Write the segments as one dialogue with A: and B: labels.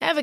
A: Ever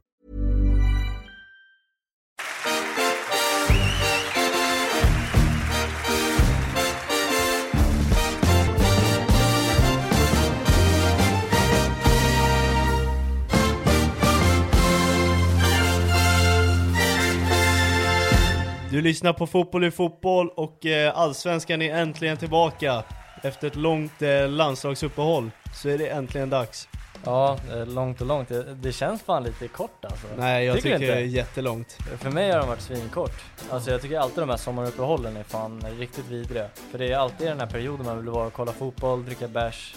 B: Du lyssnar på Fotboll i fotboll och eh, Allsvenskan är äntligen tillbaka. Efter ett långt eh, landslagsuppehåll så är det äntligen dags.
C: Ja, eh, långt och långt. Det, det känns fan lite kort alltså.
B: Nej, jag tycker,
C: du
B: det är
C: inte?
B: jättelångt.
C: För mig har de varit svinkort. Alltså jag tycker alltid de här sommaruppehållen är fan riktigt vidriga. För det är alltid den här perioden man vill vara och kolla fotboll, dricka bärs.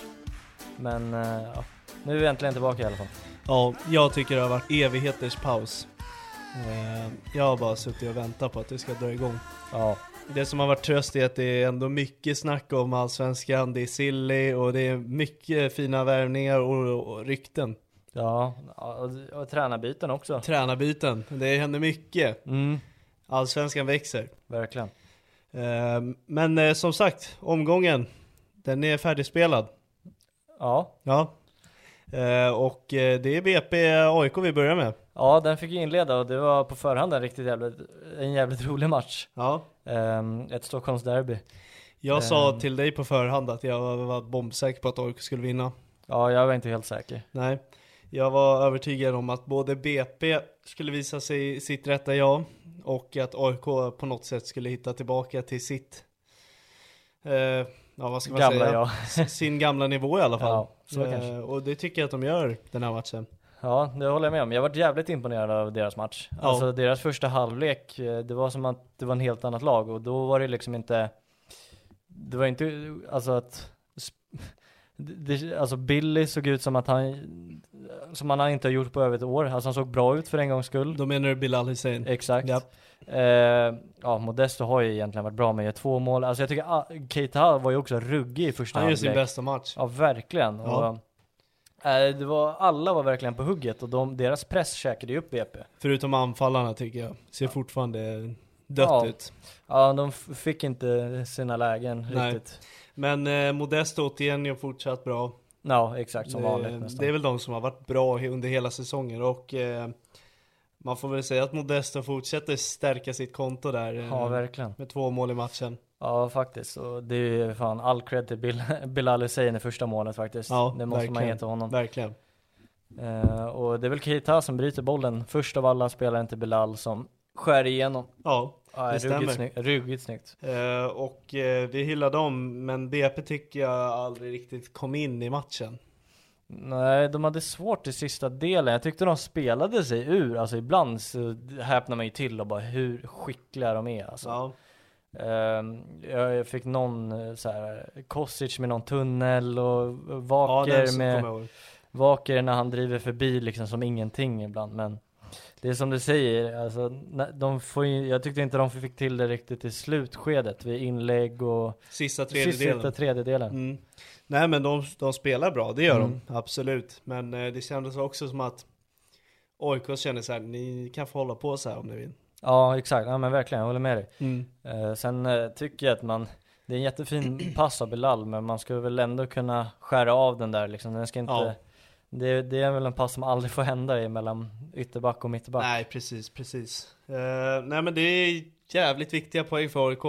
C: Men eh, ja, nu är vi äntligen tillbaka i alla fall.
B: Ja, jag tycker det har varit evigheters paus. Eh, Jag har bara suttit och väntat på att det ska dra igång.
C: Ja,
B: Det som har varit tröst är att det är ändå mycket snack om Allsvenskan, det är silly och det är mycket fina värvningar och, och rykten.
C: ja och, och tränarbyten också.
B: Tränarbyten, det händer mycket.
C: Mm,
B: Allsvenskan växer.
C: verkligen.
B: Eh, Men eh, som sagt, omgången, den är färdigspelad.
C: Ja.
B: Ja. Eh, Och eh, det är BP AIK vi börjar med.
C: ja, den fick ju inleda och det var på förhand en riktigt jävligt, en jävligt rolig match.
B: Ja.
C: Ehm, ett Stockholmsderby.
B: Jag sa
C: Ehm.
B: till dig på förhand att jag var- var bombsäker på att AIK skulle vinna.
C: Ja, jag var inte helt säker.
B: Nej, jag var övertygad om att både BP skulle visa sig sitt rätta jag och att AIK på något sätt skulle hitta tillbaka till sitt, eh, ja vad ska man
C: Gamla
B: säga,
C: jag.
B: sin gamla nivå i alla fall.
C: Ja, så kanske.
B: eh, och det tycker jag att de gör den här matchen.
C: Ja, det håller jag med om. Jag varit jävligt imponerad av deras match.
B: Ja.
C: Alltså deras första halvlek, eh, det var som att det var en helt annat lag och då var det liksom inte, det var inte, alltså att, sp- det, alltså Billy såg ut som att han, som han inte har gjort på över ett år. Alltså han såg bra ut för en gångs skull.
B: Då menar du Bilal Hussein?
C: Exakt.
B: Japp.
C: Eh, ja, Modesto har ju egentligen varit bra med att två mål. Alltså jag tycker ah, Keita var ju också ruggig i första
B: Han gör
C: halvlek.
B: sin bästa match.
C: Ja, verkligen.
B: Ja.
C: Och, eh, det var, alla var verkligen på hugget och de, deras press käkade ju upp BP.
B: Förutom anfallarna tycker jag. Ser fortfarande dött
C: Ja.
B: ut.
C: Ja, de f- fick inte sina lägen
B: Nej.
C: riktigt.
B: Men eh, Modesto återigen gör fortsatt bra.
C: Ja, exakt som vanligt
B: det,
C: nästan.
B: det är väl de som har varit bra he- under hela säsongen och eh, man får väl säga att Modesto fortsätter stärka sitt konto där. eh,
C: Ja, verkligen.
B: med två mål i matchen.
C: Ja, faktiskt. Och det är ju fan all cred till Bil Bilal Hussein i första målet faktiskt.
B: Ja,
C: det måste man
B: verkligen.
C: ge till honom.
B: Verkligen.
C: Eh, och det är väl Keita som bryter bollen först av alla spelaren till Bilal som skär igenom.
B: Ja,
C: Ja,
B: Det stämmer.
C: ruggigt, snyggt, ruggigt snyggt.
B: eh, och eh, vi hyllar dem, men BP tycker jag aldrig riktigt kom in i matchen.
C: Nej, de hade svårt i sista delen. Jag tyckte de spelade sig ur. Alltså ibland så häpnar man ju till och bara hur skickliga de är alltså.
B: Ja,
C: Ehm, jag jag fick någon eh, så här, Kostic med någon tunnel och
B: ja
C: Vaker
B: den som kommer
C: med,
B: jag ihåg.
C: Vaker när han driver förbi liksom som ingenting ibland. Men det är som du säger, alltså, nä- de får, ju- jag tyckte inte de fick till det riktigt i slutskedet vid inlägg och
B: Sista tredjedelen.
C: sista tredjedelen.
B: Mm. Nej men de, de spelar bra, det gör
C: Mm.
B: de absolut. Men eh, det kändes också som att AIK känner så här, ni kan få hålla på så här om ni vill.
C: Ja exakt, ja men verkligen, jag håller med dig.
B: Mm.
C: Eh, sen eh, tycker jag att man, det är en jättefin pass av Bilal, men man ska väl ändå kunna skära av den där liksom. Den ska inte,
B: Ja.
C: det, det är väl en pass som aldrig får hända i mellan ytterback och mittback.
B: Nej, precis, precis. Eh, nej, men det är jävligt viktiga poäng för AIK.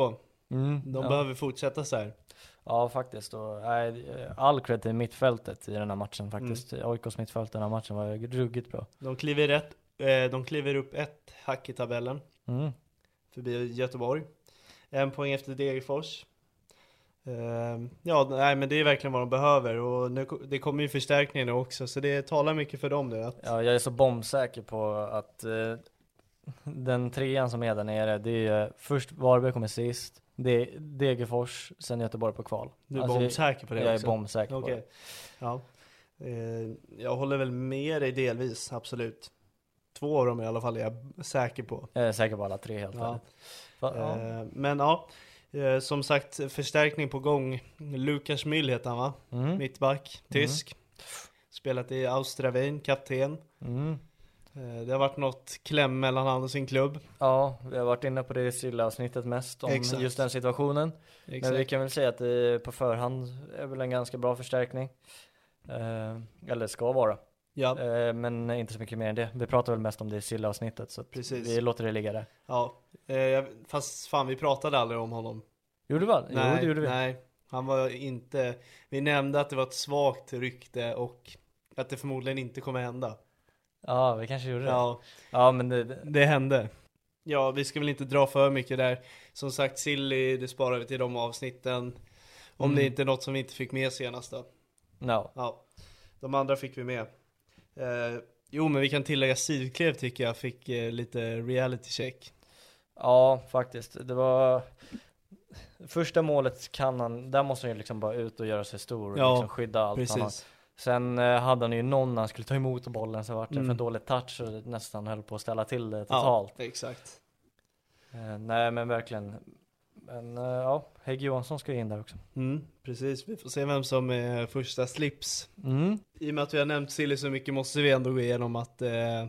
C: Mm,
B: De
C: ja.
B: behöver fortsätta så här.
C: ja faktiskt, och, nej, all cred till mittfältet i den här matchen faktiskt.
B: Mm.
C: AIKs mittfält i den här matchen var ju ruggigt bra.
B: De kliver, rätt, eh, de kliver upp ett hack i tabellen
C: Mm.
B: förbi Göteborg. En poäng efter Degerfors. Eh, ja, nej, men det är verkligen vad de behöver och nu, ko- det kommer ju förstärkningar nu också så det talar mycket för dem nu. Att,
C: Ja, jag är så bombsäker på att eh, den trean som är där nere, det är eh, först Varberg kommer sist, det är Degerfors, sen Göteborg på kval.
B: du är
C: Alltså,
B: bombsäker på
C: jag,
B: det
C: jag är
B: också.
C: bombsäker på
B: Okej.
C: det.
B: Ja. Eh, jag håller väl med dig delvis, absolut. Två av dem i alla fall är jag säker på.
C: Jag är säker på alla tre helt
B: Ja.
C: ärligt. Va, ja.
B: Eh, men ja, eh, som sagt förstärkning på gång. Lukas Müll heter han va?
C: Mm.
B: Mittback, tysk. Spelat i Austria Wien, kapten.
C: Mm.
B: Eh, det har varit något kläm mellan han och sin klubb.
C: ja, vi har varit inne på det i Silla-avsnittet mest om
B: Exakt.
C: just den situationen. Men vi kan väl säga att det på förhand är väl en ganska bra förstärkning. Eh, eller ska vara.
B: Ja,
C: Eh, men inte så mycket mer än det. Vi pratar väl mest om det i Silla-avsnittet så att
B: Precis.
C: vi låter det ligga där.
B: ja. Eh, jag- fast fan vi pratade aldrig om honom.
C: Gjorde vi? all- jo,
B: nej,
C: det gjorde vi.
B: nej, han var inte. Vi nämnde att det var ett svagt rykte och att det förmodligen inte kommer hända.
C: Ja, vi kanske gjorde det. Ja,
B: Ja,
C: men det, det,
B: det hände. Ja, vi ska väl inte dra för mycket där. Som sagt, Silly, det sparar vi till de avsnitten. Om
C: Mm.
B: det inte är något som vi inte fick med senast då.
C: no.
B: Ja, de andra fick vi med. Eh, jo, men vi kan tillägga Sidklev tycker jag fick eh, lite reality check.
C: Ja, faktiskt. Det var... Första målet kan han, där måste han ju liksom bara ut och göra sig stor och
B: Ja,
C: liksom skydda allt han har.
B: Precis.
C: Sen eh, hade han ju någon när han skulle ta emot bollen så vart det
B: Mm.
C: för dålig touch och det nästan höll på att ställa till det totalt.
B: Ja, exakt.
C: Eh, nej men verkligen. Men eh, ja, Hägg Johansson ska ju in där också.
B: Mm, precis, vi får se vem som är första slips.
C: Mm.
B: I och med att vi har nämnt Silly så mycket måste vi ändå gå igenom att eh,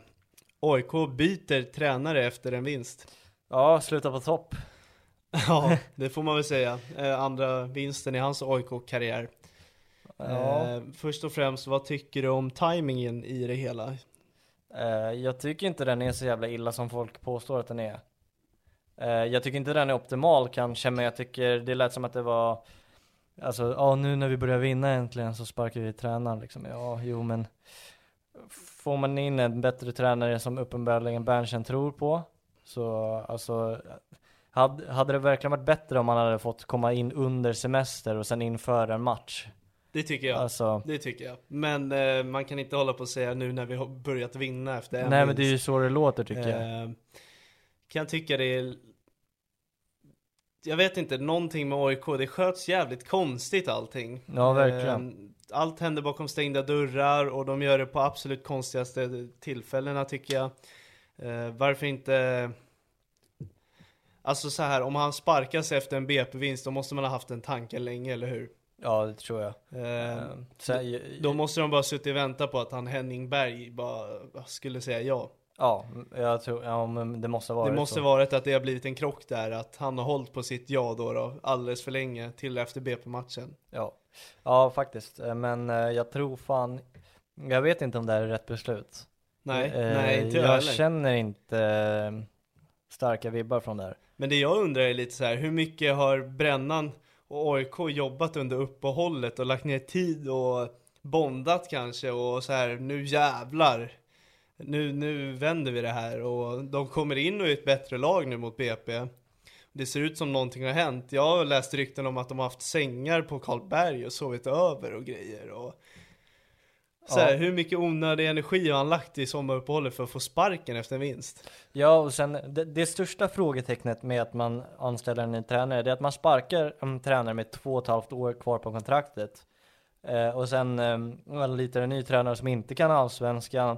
B: AIK byter tränare efter en vinst.
C: Ja, sluta på topp.
B: Ja, det får man väl säga. Eh, andra vinsten i hans AIK-karriär.
C: Ja.
B: Eh, först och främst, vad tycker du om tajmingen i det hela?
C: Eh, jag tycker inte den är så jävla illa som folk påstår att den är. Eh, jag tycker inte den är optimal kanske, men jag tycker det lät som att det var Alltså, ja nu när vi börjar vinna äntligen så sparkar vi tränaren liksom. Ja, jo men Får man in en bättre tränare som uppenbarligen Berntsen tror på Så, alltså hade, hade det verkligen varit bättre om man hade fått komma in under semester och sen inför en match?
B: Det tycker jag.
C: Alltså,
B: Det tycker jag. Men eh, man kan inte hålla på och säga nu när vi har börjat vinna efter en
C: nej men det är ju
B: vinst.
C: så det låter tycker jag.
B: Eh, kan tycka det är... Jag vet inte, någonting med AIK, det sköts jävligt konstigt allting.
C: Ja, verkligen.
B: Eh, Allt händer bakom stängda dörrar och de gör det på absolut konstigaste tillfällena tycker jag. Eh, varför inte... Alltså så här, om han sparkas efter en BP-vinst då måste man ha haft en tanke länge, eller hur?
C: Ja, det tror jag.
B: Eh,
C: Eh, sen,
B: Då måste de bara suttit och väntat på att han Henning Berg bara skulle säga ja.
C: Ja, jag tror, ja men det måste vara
B: Det måste
C: så.
B: varit att det har blivit en krock där, att han har hållit på sitt ja då, då alldeles för länge till efter BP-matchen.
C: Ja. ja, faktiskt. Eh, Men eh, jag tror fan, jag vet inte om det här är rätt beslut.
B: Nej,
C: Eh,
B: nej inte jag,
C: jag
B: heller.
C: känner inte eh, starka vibbar från det här.
B: Men det jag undrar är lite så här, hur mycket har Brännan och AIK jobbat under uppehållet och lagt ner tid och bondat kanske och så här, nu jävlar. Nu, nu vänder vi det här och de kommer in och är ett bättre lag nu mot BP. Det ser ut som någonting har hänt. Jag har läst rykten om att de har haft sängar på Karlberg och sovit över och grejer. Och... Så här,
C: Ja.
B: Hur mycket onödig energi har han lagt i sommaruppehållet för att få sparken efter en vinst?
C: Ja, och sen det, det största frågetecknet med att man anställer en ny tränare, det är att man sparkar en tränare med två och ett halvt år kvar på kontraktet. Eh, och sen eh, anlitar en ny tränare som inte kan allsvenskan,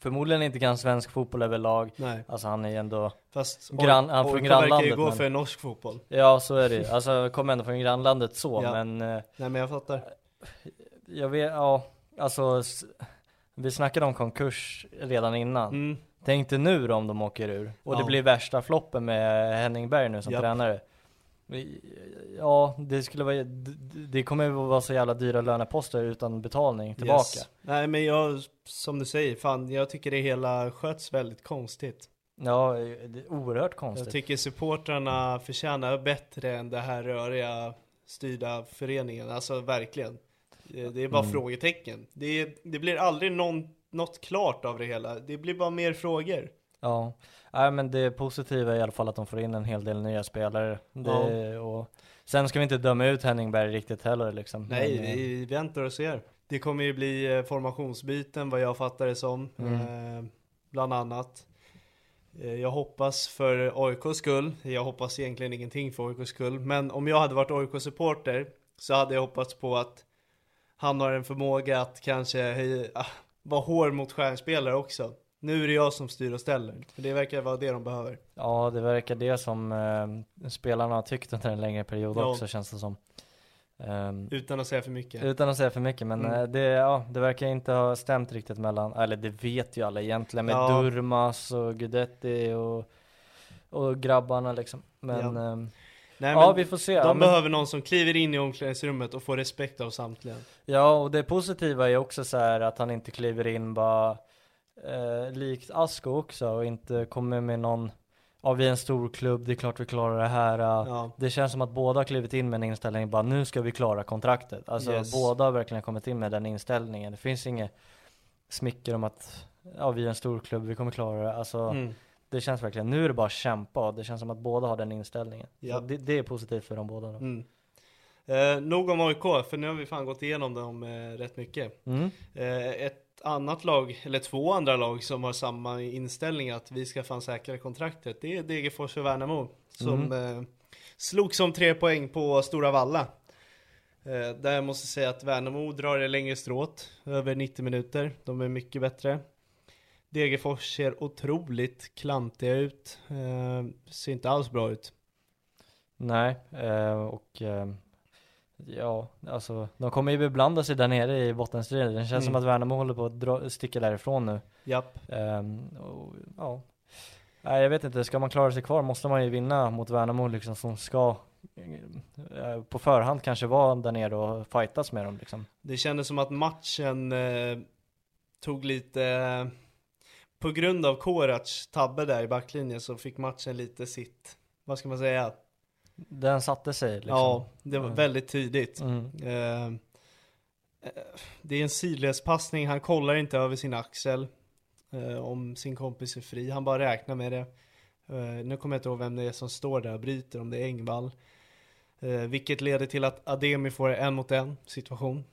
C: förmodligen inte kan svensk fotboll överlag.
B: Nej.
C: Alltså han är ju ändå
B: Fast
C: Grann- han
B: AIK verkar
C: från
B: ju
C: grannlandet,
B: gå
C: men-
B: för norsk fotboll.
C: Ja så är det ju. alltså jag kommer ändå från grannlandet så
B: Ja.
C: men eh,
B: Nej men jag fattar.
C: jag vet, ja alltså s- Vi snackade om konkurs redan innan.
B: Mm.
C: Tänk dig nu då om de åker ur och det
B: Ja.
C: blir värsta floppen med Henning Berg nu som
B: Japp.
C: tränare. Ja, det skulle vara, d- d- det kommer ju vara så jävla dyra löneposter utan betalning tillbaka.
B: Yes. Nej men jag, som du säger, fan jag tycker det hela sköts väldigt konstigt.
C: Ja, det är oerhört konstigt.
B: Jag tycker supportrarna förtjänar bättre än det här röriga styrda föreningen, alltså verkligen. Eh, Det är
C: Mm.
B: bara frågetecken. Det, det blir aldrig någon, något klart av det hela, det blir bara mer frågor.
C: Ja, Nej, men det positiva är i alla fall att de får in en hel del nya spelare. Det, och, sen ska vi inte döma ut Henning Berg riktigt heller liksom.
B: Nej,
C: Men, eh,
B: vi väntar och ser. Det kommer ju bli eh, formationsbyten vad jag fattar det som.
C: Mm.
B: Eh, bland annat. Eh, jag hoppas för AIKs skull, jag hoppas egentligen ingenting för AIKs skull, men om jag hade varit AIK-supporter så hade jag hoppats på att han har en förmåga att kanske höja, ah, vara hård mot stjärnspelare också. Nu är det jag som styr och ställer, för det verkar vara det de behöver.
C: Ja, det verkar det som eh, spelarna har tyckt under en längre period
B: Ja.
C: också känns det som. Ehm,
B: Utan att säga för mycket.
C: Utan att säga för mycket men
B: Mm.
C: eh, det, ja, det verkar inte ha stämt riktigt mellan, eller det vet ju alla egentligen med
B: Ja.
C: Durmas och Gudetti och, och grabbarna liksom. Men
B: Ja.
C: ja,
B: Nej,
C: ja
B: men
C: vi får se.
B: de
C: Ja, men,
B: behöver någon som kliver in i omklädningsrummet och får respekt av samtliga.
C: ja och det positiva är också så här att han inte kliver in bara eh, likt Asko också och inte kommer med någon, ja vi är en stor klubb, det är klart vi klarar det här. eh.
B: Ja.
C: Det känns som att båda har klivit in med en inställning bara nu ska vi klara kontraktet. Alltså
B: Yes.
C: båda har verkligen kommit in med den inställningen. Det finns inget smicker om att ja, vi är en stor klubb, vi kommer klara det. Alltså,
B: Mm.
C: Det känns verkligen, nu är det bara att kämpa. Det känns som att båda har den inställningen.
B: Ja.
C: Så det, det är positivt för dem båda. Då.
B: Mm. Eh, nog om AIK, för nu har vi fan gått igenom dem eh, rätt mycket.
C: Mm.
B: Eh, ett annat lag, eller två andra lag som har samma inställning att vi ska fan säkra kontraktet, det är Degerfors och Värnamo. Som eh, slog som tre poäng på Stora Valla. Eh, där jag måste säga att Värnamo drar det längre stråt, över 90 minuter. De är mycket bättre. Degerfors ser otroligt klantiga ut, eh, ser inte alls bra ut.
C: Nej, eh, och eh, ja, alltså de kommer ju beblanda sig där nere i bottenstriden. Det känns
B: Mm.
C: som att Värnamo håller på att dra, sticka därifrån nu.
B: Japp.
C: Ehm, och, ja. Nej, jag vet inte, ska man klara sig kvar måste man ju vinna mot Värnamo liksom som ska eh, på förhand kanske vara där nere och fightas med dem liksom.
B: Det kändes som att matchen eh, tog lite, eh, på grund av Koracs tabbe där i backlinjen så fick matchen lite sitt, vad ska man säga?
C: Den satte sig liksom.
B: Ja, det var
C: Mm.
B: väldigt tidigt.
C: Mm.
B: Eh, eh, det är en sidledspassning, han kollar inte över sin axel eh, om sin kompis är fri, han bara räknar med det. Eh, nu kommer jag inte ihåg vem det är som står där och bryter, om det är Engvall. Eh, vilket leder till att Ademi får en mot en situation.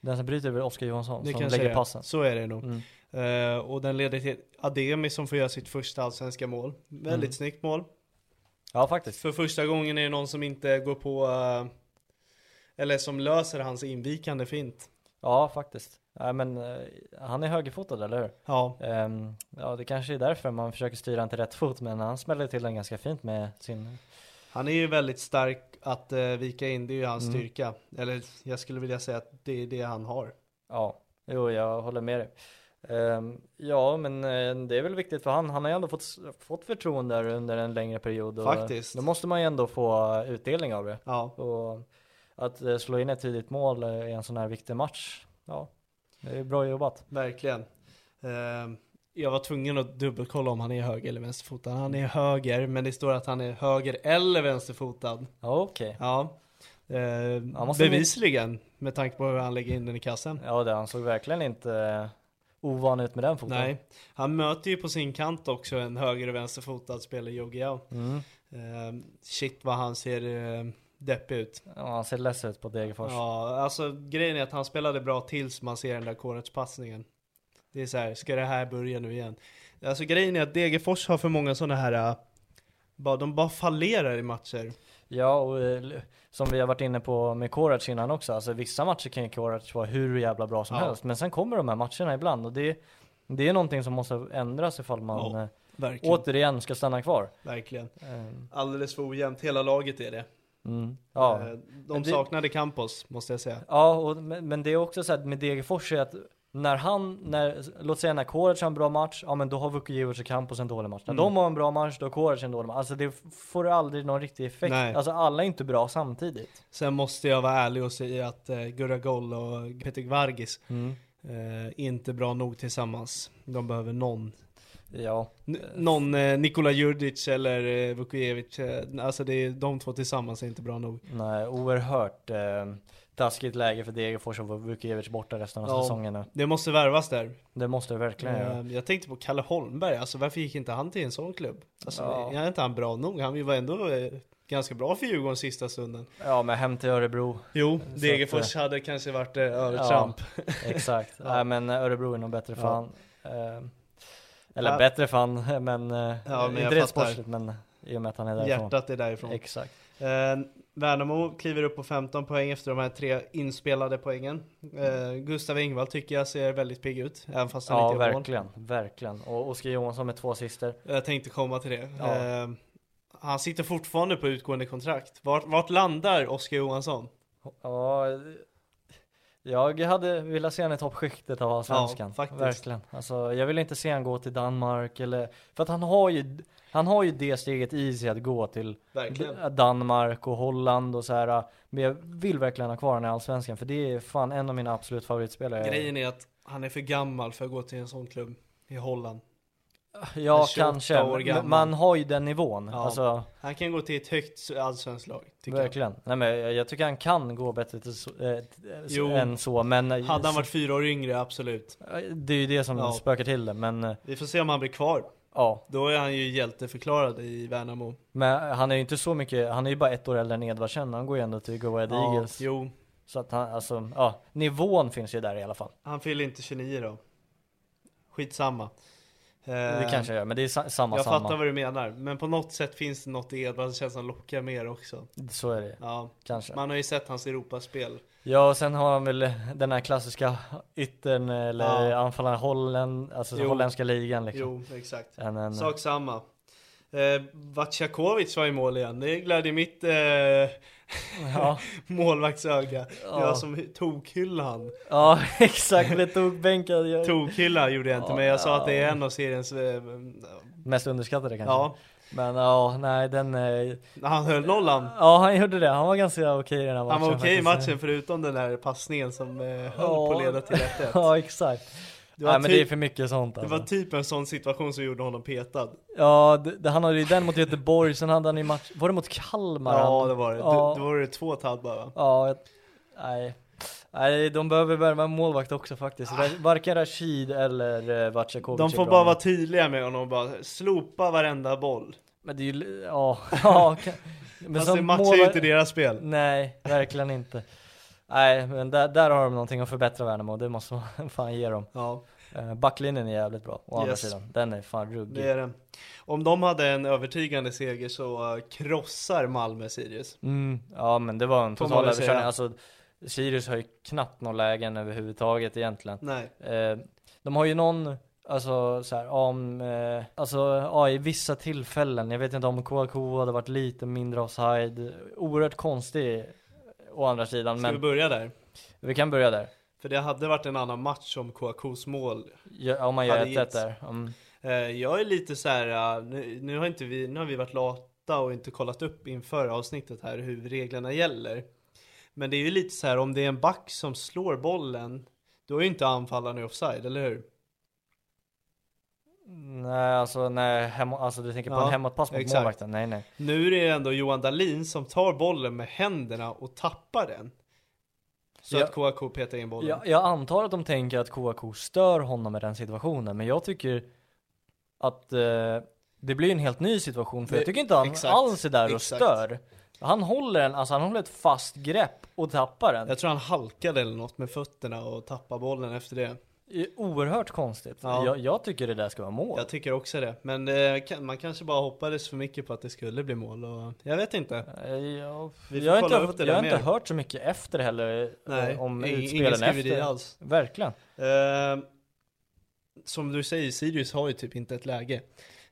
C: Den som bryter är väl Oskar Johansson
B: Det
C: som
B: kanske
C: lägger
B: är.
C: passen.
B: Så är det nog.
C: Mm.
B: Eh, och den leder till Ademi som får göra sitt första allsvenska mål. Väldigt
C: Mm.
B: snyggt mål.
C: Ja faktiskt.
B: För första gången är det någon som inte går på, eh, eller som löser hans invikande fint.
C: Ja faktiskt. Nej men eh, han är högerfotad eller hur?
B: Ja,
C: Ehm, ja det kanske är därför man försöker styra han till rätt fot men han smäller till den ganska fint med sin,
B: han är ju väldigt stark att eh, vika in, det är ju hans
C: Mm.
B: styrka. Eller jag skulle vilja säga att det är det han har.
C: ja jo jag håller med dig. Ehm, ja men eh, det är väl viktigt för han, han har ju ändå fått, s- fått förtroende här under en längre period. Och
B: Faktiskt.
C: Då måste man ju ändå få eh, utdelning av det.
B: Ja.
C: Och att eh, slå in ett tidigt mål eh, i en sån här viktig match, ja det är bra jobbat.
B: Verkligen. Eh, jag var tvungen att dubbelkolla om han är höger eller vänsterfotad. Han
C: Mm.
B: är höger, men det står att han är höger eller vänsterfotad.
C: Ja, Okej.
B: Ja. Eh,
C: Han måste
B: bevisligen, med tanke på hur han lägger in den i kassen.
C: Ja, det, han såg verkligen inte eh, ovan ut med den foten.
B: Nej, han möter ju på sin kant också en höger och vänsterfotad spelare, Jogiao.
C: Mm.
B: Eh, shit vad han ser eh, deppig ut.
C: Ja, han ser less ut på Degerfors. Ja.
B: Ja, alltså grejen är att han spelade bra tills man ser den där Korac-passningen. Det är så här, ska det här börja nu igen? Alltså grejen är att Degerfors har för många sådana här, eh, bara, de bara fallerar i matcher.
C: och eh, l- som vi har varit inne på med Korac innan också, alltså vissa matcher kan ju Korac vara hur jävla bra som
B: Ja.
C: helst, men sen kommer de här matcherna ibland och det, det är någonting som måste ändras ifall man
B: Ja, typ.
C: eh,
B: Verkligen.
C: återigen ska stanna kvar.
B: Verkligen.
C: Ehm,
B: Alldeles för ojämnt, hela laget är det.
C: Mm. Ja.
B: Eh,
C: Men
B: De
C: det-
B: saknade Campos, måste jag säga.
C: Ja, och, men, men det är också så här med Degerfors är att när han, när, låt säga när Kårets har en bra match, ja men då har Vukojevic och Campos en dålig match.
B: Mm.
C: När de har en bra match, då har Kårets en dålig match. Alltså det f- får aldrig någon riktig effekt.
B: Nej.
C: Alltså alla är inte bra samtidigt.
B: Sen måste jag vara ärlig och säga att eh, Guragol och Peter Vargis eh, inte bra nog tillsammans. De behöver någon.
C: Ja,
B: N- någon eh, Nikola Jurdic eller eh, Vukovic. Eh, alltså det är, de två tillsammans är inte bra nog.
C: nej, oerhört eh, taskigt läge för Degerfors och Vukojevic borta resten av
B: Ja.
C: säsongen nu.
B: Det måste värvas där.
C: Det måste det verkligen göra.
B: Eh, Jag tänkte på Kalle Holmberg, alltså varför gick inte han till en sån klubb? Alltså,
C: Ja.
B: Är inte han bra nog? Han var ändå eh, ganska bra för Djurgården sista stunden. eh,
C: Ja, men hem till Örebro.
B: Jo,
C: Degerfors
B: Degerfors hade kanske varit övertramp.
C: Exakt. Nej, men eh, Örebro är nog bättre
B: Ja.
C: fan. Eh, eller
B: Ja.
C: bättre fan, men, eh,
B: jag
C: inte rent
B: fattar.
C: sportsligt, men i och med att han är därifrån.
B: Hjärtat är därifrån.
C: Exakt.
B: Eh, Värnamo kliver upp på 15 poäng efter de här tre inspelade poängen. Eh, Gustav Engvall tycker jag ser väldigt pigg ut, även fast han
C: Ja,
B: inte gör mål.
C: verkligen, verkligen. Och Oskar Johansson med två assister.
B: Jag tänkte komma till det.
C: Ja.
B: Eh, han sitter fortfarande på utgående kontrakt. Vart, vart landar Oskar Johansson?
C: Ja, jag hade velat se honom i toppskiktet av Allsvenskan.
B: Ja, faktiskt.
C: Verkligen. Alltså, jag vill inte se honom gå till Danmark eller, för att han har ju, han har ju det steget i sig att gå till
B: Verkligen.
C: D- Danmark och Holland och så här. Men jag vill verkligen ha kvar honom i Allsvenskan för det är fan en av mina absolut favoritspelare.
B: Grejen är att han är för gammal för att gå till en sån klubb i Holland.
C: ja,
B: 28
C: kanske.
B: år gammal.
C: Men Man har ju den nivån.
B: Ja.
C: Alltså,
B: Han kan gå till ett högt allsvenskt lag. Tycker
C: verkligen. Nej, men jag, jag tycker han kan gå bättre till så, eh, t-
B: Jo.
C: än så. Men eh,
B: jag. Hade han varit fyra år yngre, absolut.
C: Det är ju det som
B: Ja.
C: spökar till det, men eh,
B: Vi får se om han blir kvar.
C: ja.
B: Då är han ju hjälteförklarad i Värnamo.
C: Men han är ju inte så mycket, han är ju bara ett år äldre än Edvardsen, han går ju ändå till Go Ahead Eagles.
B: Jo,
C: Så att han, alltså, ja, nivån finns ju där i alla fall.
B: han fyller inte 29 då. Skitsamma. Eh,
C: Det kanske jag gör, men det är sa- samma,
B: jag
C: samma.
B: fattar vad du menar, men på något sätt finns det något i Edvard känns som lockar mer också.
C: Så är det ju,
B: Ja,
C: kanske.
B: man har ju sett hans Europaspel.
C: Ja, och sen har han väl den här klassiska yttern eller
B: Ja.
C: anfallaren, Holland, alltså
B: Jo.
C: holländska ligan liksom.
B: Jo, exakt.
C: En, en,
B: Sak samma. Eh, Vatjakovic var i mål igen, det glädjer mitt eh,
C: ja,
B: målvaktsöga.
C: Ja.
B: Jag som tokhyllade han.
C: ja, exakt, blev tokbänkad. Jag-
B: Tokhylla gjorde jag inte,
C: Ja,
B: men jag sa att det är
C: ja.
B: en av seriens... eh,
C: Mest underskattade kanske.
B: Ja,
C: Men ja, nej den... eh,
B: han höll nollan.
C: Ja, han gjorde det. Han var ganska okej i den här matchen.
B: Han var okej i
C: faktiskt.
B: matchen förutom den där passningen som eh, höll
C: Ja.
B: på att leda till 1-1.
C: Ja, exakt.
B: Det
C: nej,
B: var
C: men det är
B: typ-
C: för mycket sånt
B: Det
C: alltså.
B: var typ en sån situation som gjorde honom petad.
C: Ja, det, det, han hade ju den mot Göteborg, sen hade han ju match... Var det mot Kalmar?
B: Ja
C: han?
B: det var det.
C: Ja.
B: Då, då var det två tabbar va?
C: Ja, jag, nej. Nej, de behöver värva en målvakt också faktiskt. Ra- Varken Rashid eller eh, Vatjakovic
B: De
C: är
B: får
C: bra.
B: bara vara tydliga med honom och bara slopa varenda boll.
C: Men det är ju, ja. ja kan- men
B: Fast Alltså, det
C: som
B: matchar ju
C: målvakt-
B: inte deras spel.
C: Nej, verkligen inte. Nej, men där, där har de någonting att förbättra Värnamo, det måste man fan ge dem.
B: Ja,
C: Eh, Backlinjen är jävligt bra, å andra
B: Yes.
C: sidan. Den är fan
B: det
C: ruggig.
B: är det. Om de hade en övertygande seger så eh, krossar Malmö Sirius.
C: Mm, ja men det var en
B: Får man
C: total
B: väl säga.
C: överkörning. Alltså, Sirius har ju knappt några lägen överhuvudtaget egentligen.
B: Nej.
C: Eh, de har ju någon, alltså så här, om, eh, alltså ja, i vissa tillfällen, jag vet inte om KK hade varit lite mindre offside, oerhört konstig eh, å andra sidan,
B: Ska vi
C: men
B: börja där?
C: vi kan börja där.
B: För det hade varit en annan match om Kouakous mål.
C: Ja, om man gör
B: Hade
C: 1
B: givits.
C: där. Mm.
B: Eh, Jag är lite så här, eh, nu, nu, har inte vi, nu har vi varit lata och inte kollat upp inför avsnittet här hur reglerna gäller. Men det är ju lite så här, om det är en back som slår bollen, då är ju inte anfallaren i offside, eller hur?
C: Nej, alltså, nej, hem, alltså du tänker på
B: Ja,
C: en hemåtpass mot
B: exakt.
C: målvakten? Nej, nej.
B: Nu är det ändå Johan Dahlin som tar bollen med händerna och tappar den. Så
C: Ja.
B: att KK petar in bollen.
C: Jag, jag antar att de tänker att KAK stör honom i den situationen, men jag tycker att eh, det blir en helt ny situation, för
B: Det-
C: jag tycker inte han
B: exakt,
C: alls är där och
B: exakt.
C: stör. Han håller en, alltså han håller ett fast grepp och tappar den.
B: Jag tror han halkade eller något med fötterna och tappade bollen efter det.
C: Det är oerhört konstigt.
B: Ja.
C: Jag, jag tycker det där ska vara mål.
B: Jag tycker också det. Men eh, kan- man kanske bara hoppades för mycket på att det skulle bli mål och jag vet inte.
C: Eh, Jag,
B: Vi får
C: jag har
B: kolla
C: inte,
B: upp det
C: jag har
B: där
C: inte
B: mer.
C: hört så mycket efter heller eh,
B: Nej,
C: om
B: ing- ingen
C: utspelen
B: skriveri
C: efter.
B: alls.
C: Verkligen.
B: Eh, som du säger, Sirius har ju typ inte ett läge.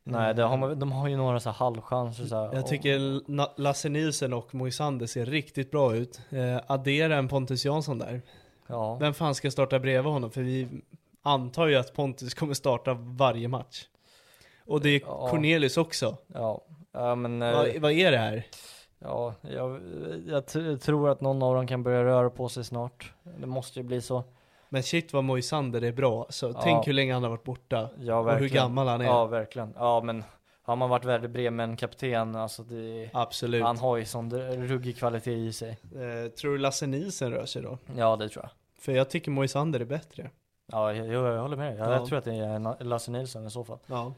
C: Nej, det har man, de har ju några så här halvchanser så här,
B: Mm. Jag
C: och-
B: tycker Na- Lasse Nielsen och Moisander ser riktigt bra ut. Eh, addera en Pontus Jansson där.
C: Ja.
B: Vem fan ska starta bredvid honom? För vi antar ju att Pontus kommer starta varje match. Och det är
C: Ja.
B: Cornelius också.
C: Ja. Ja men, eh,
B: Vad, vad är det här?
C: ja, jag, jag t- tror att någon av dem kan börja röra på sig snart. Det måste ju bli så.
B: Men shit vad Moisander är bra. Så
C: Ja.
B: tänk hur länge han har varit borta.
C: Ja,
B: och
C: verkligen.
B: hur gammal han är.
C: Ja, verkligen. Ja, men har man varit Werder Bremen-kapten, alltså det...
B: Absolut.
C: Han har ju sån där ruggig kvalitet i sig.
B: Eh, tror du Lasse Nielsen rör sig då?
C: Ja, det tror jag.
B: För jag tycker Moisander är bättre.
C: Ja, jag, jag, jag håller med dig. Jag,
B: Ja.
C: jag tror att det är Na- Lasse Nilsson i så fall.
B: Ja.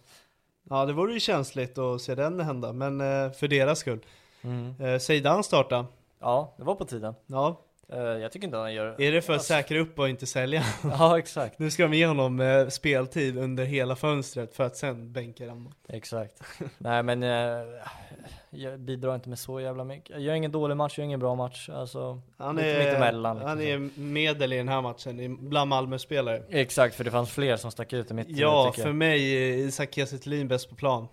B: Ja, det vore ju känsligt att se den hända, men eh, för deras skull.
C: Mm.
B: Eh, Zeidan starta.
C: Ja, det var på tiden.
B: Ja,
C: Eh, jag tycker inte han gör...
B: är det för att
C: Alltså,
B: säkra upp och inte sälja?
C: Ja, exakt.
B: Nu ska de ge honom eh, speltid under hela fönstret för att sen bänka honom.
C: Exakt. Nej, men eh, jag bidrar inte med så jävla mycket. Jag gör ingen dålig match, jag gör ingen bra match. Alltså,
B: Han
C: Lite
B: är,
C: mittemellan, liksom.
B: han är medel i den här matchen, i- bland Malmö-spelare.
C: exakt, för det fanns fler som stack ut i mitt
B: Ja,
C: tycker jag.
B: för mig är Isak Kiese Thelin bäst på plan.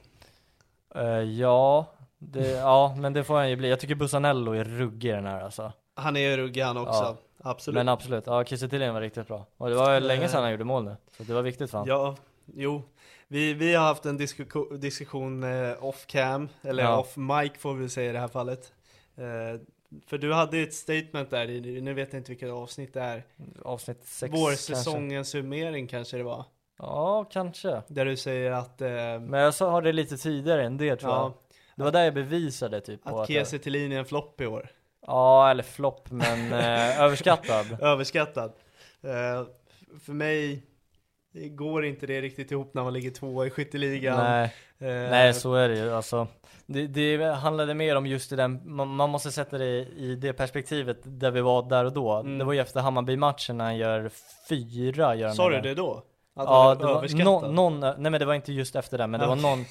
C: Eh, ja, det, ja, men det får han ju bli. Jag tycker Busanello är ruggig i den här alltså.
B: Han är ruggig han också,
C: Ja.
B: absolut. Eh,
C: Men absolut, ja Kiese Thelin var riktigt bra. Och det var ju länge sedan han gjorde mål nu. Så det var viktigt för han.
B: Ja, jo. Vi, vi har haft en diskuko- diskussion eh, off cam, eller
C: Ja.
B: off mic får vi säga i det här fallet. Eh, för du hade ju ett statement där, i- nu vet jag inte vilket avsnitt det är.
C: Avsnitt 6 Kanske.
B: Vårsäsongens summering kanske det var.
C: Ja, kanske.
B: Där du säger att, eh,
C: Men jag sa har det lite tidigare än det tror jag.
B: ja,
C: Det var där jag bevisade typ. på
B: att
C: jag-
B: Kiese Thelin är en flopp i år.
C: Ja, eller flopp, men eh, överskattad.
B: Överskattad. Eh, för mig går inte det riktigt ihop när man ligger tvåa i skytteligan.
C: Nej,
B: Eh,
C: nej, så är det ju. Alltså, det, det handlade mer om just det där, man, man måste sätta det i det perspektivet där vi var där och då.
B: Mm.
C: Det var ju efter Hammarby-matchen när han gör fyra. Gör han
B: Sa du
C: där.
B: det då? Att
C: Ja,
B: han Ah,
C: det var någon, någon, nej men det var inte just efter det, men det var någon,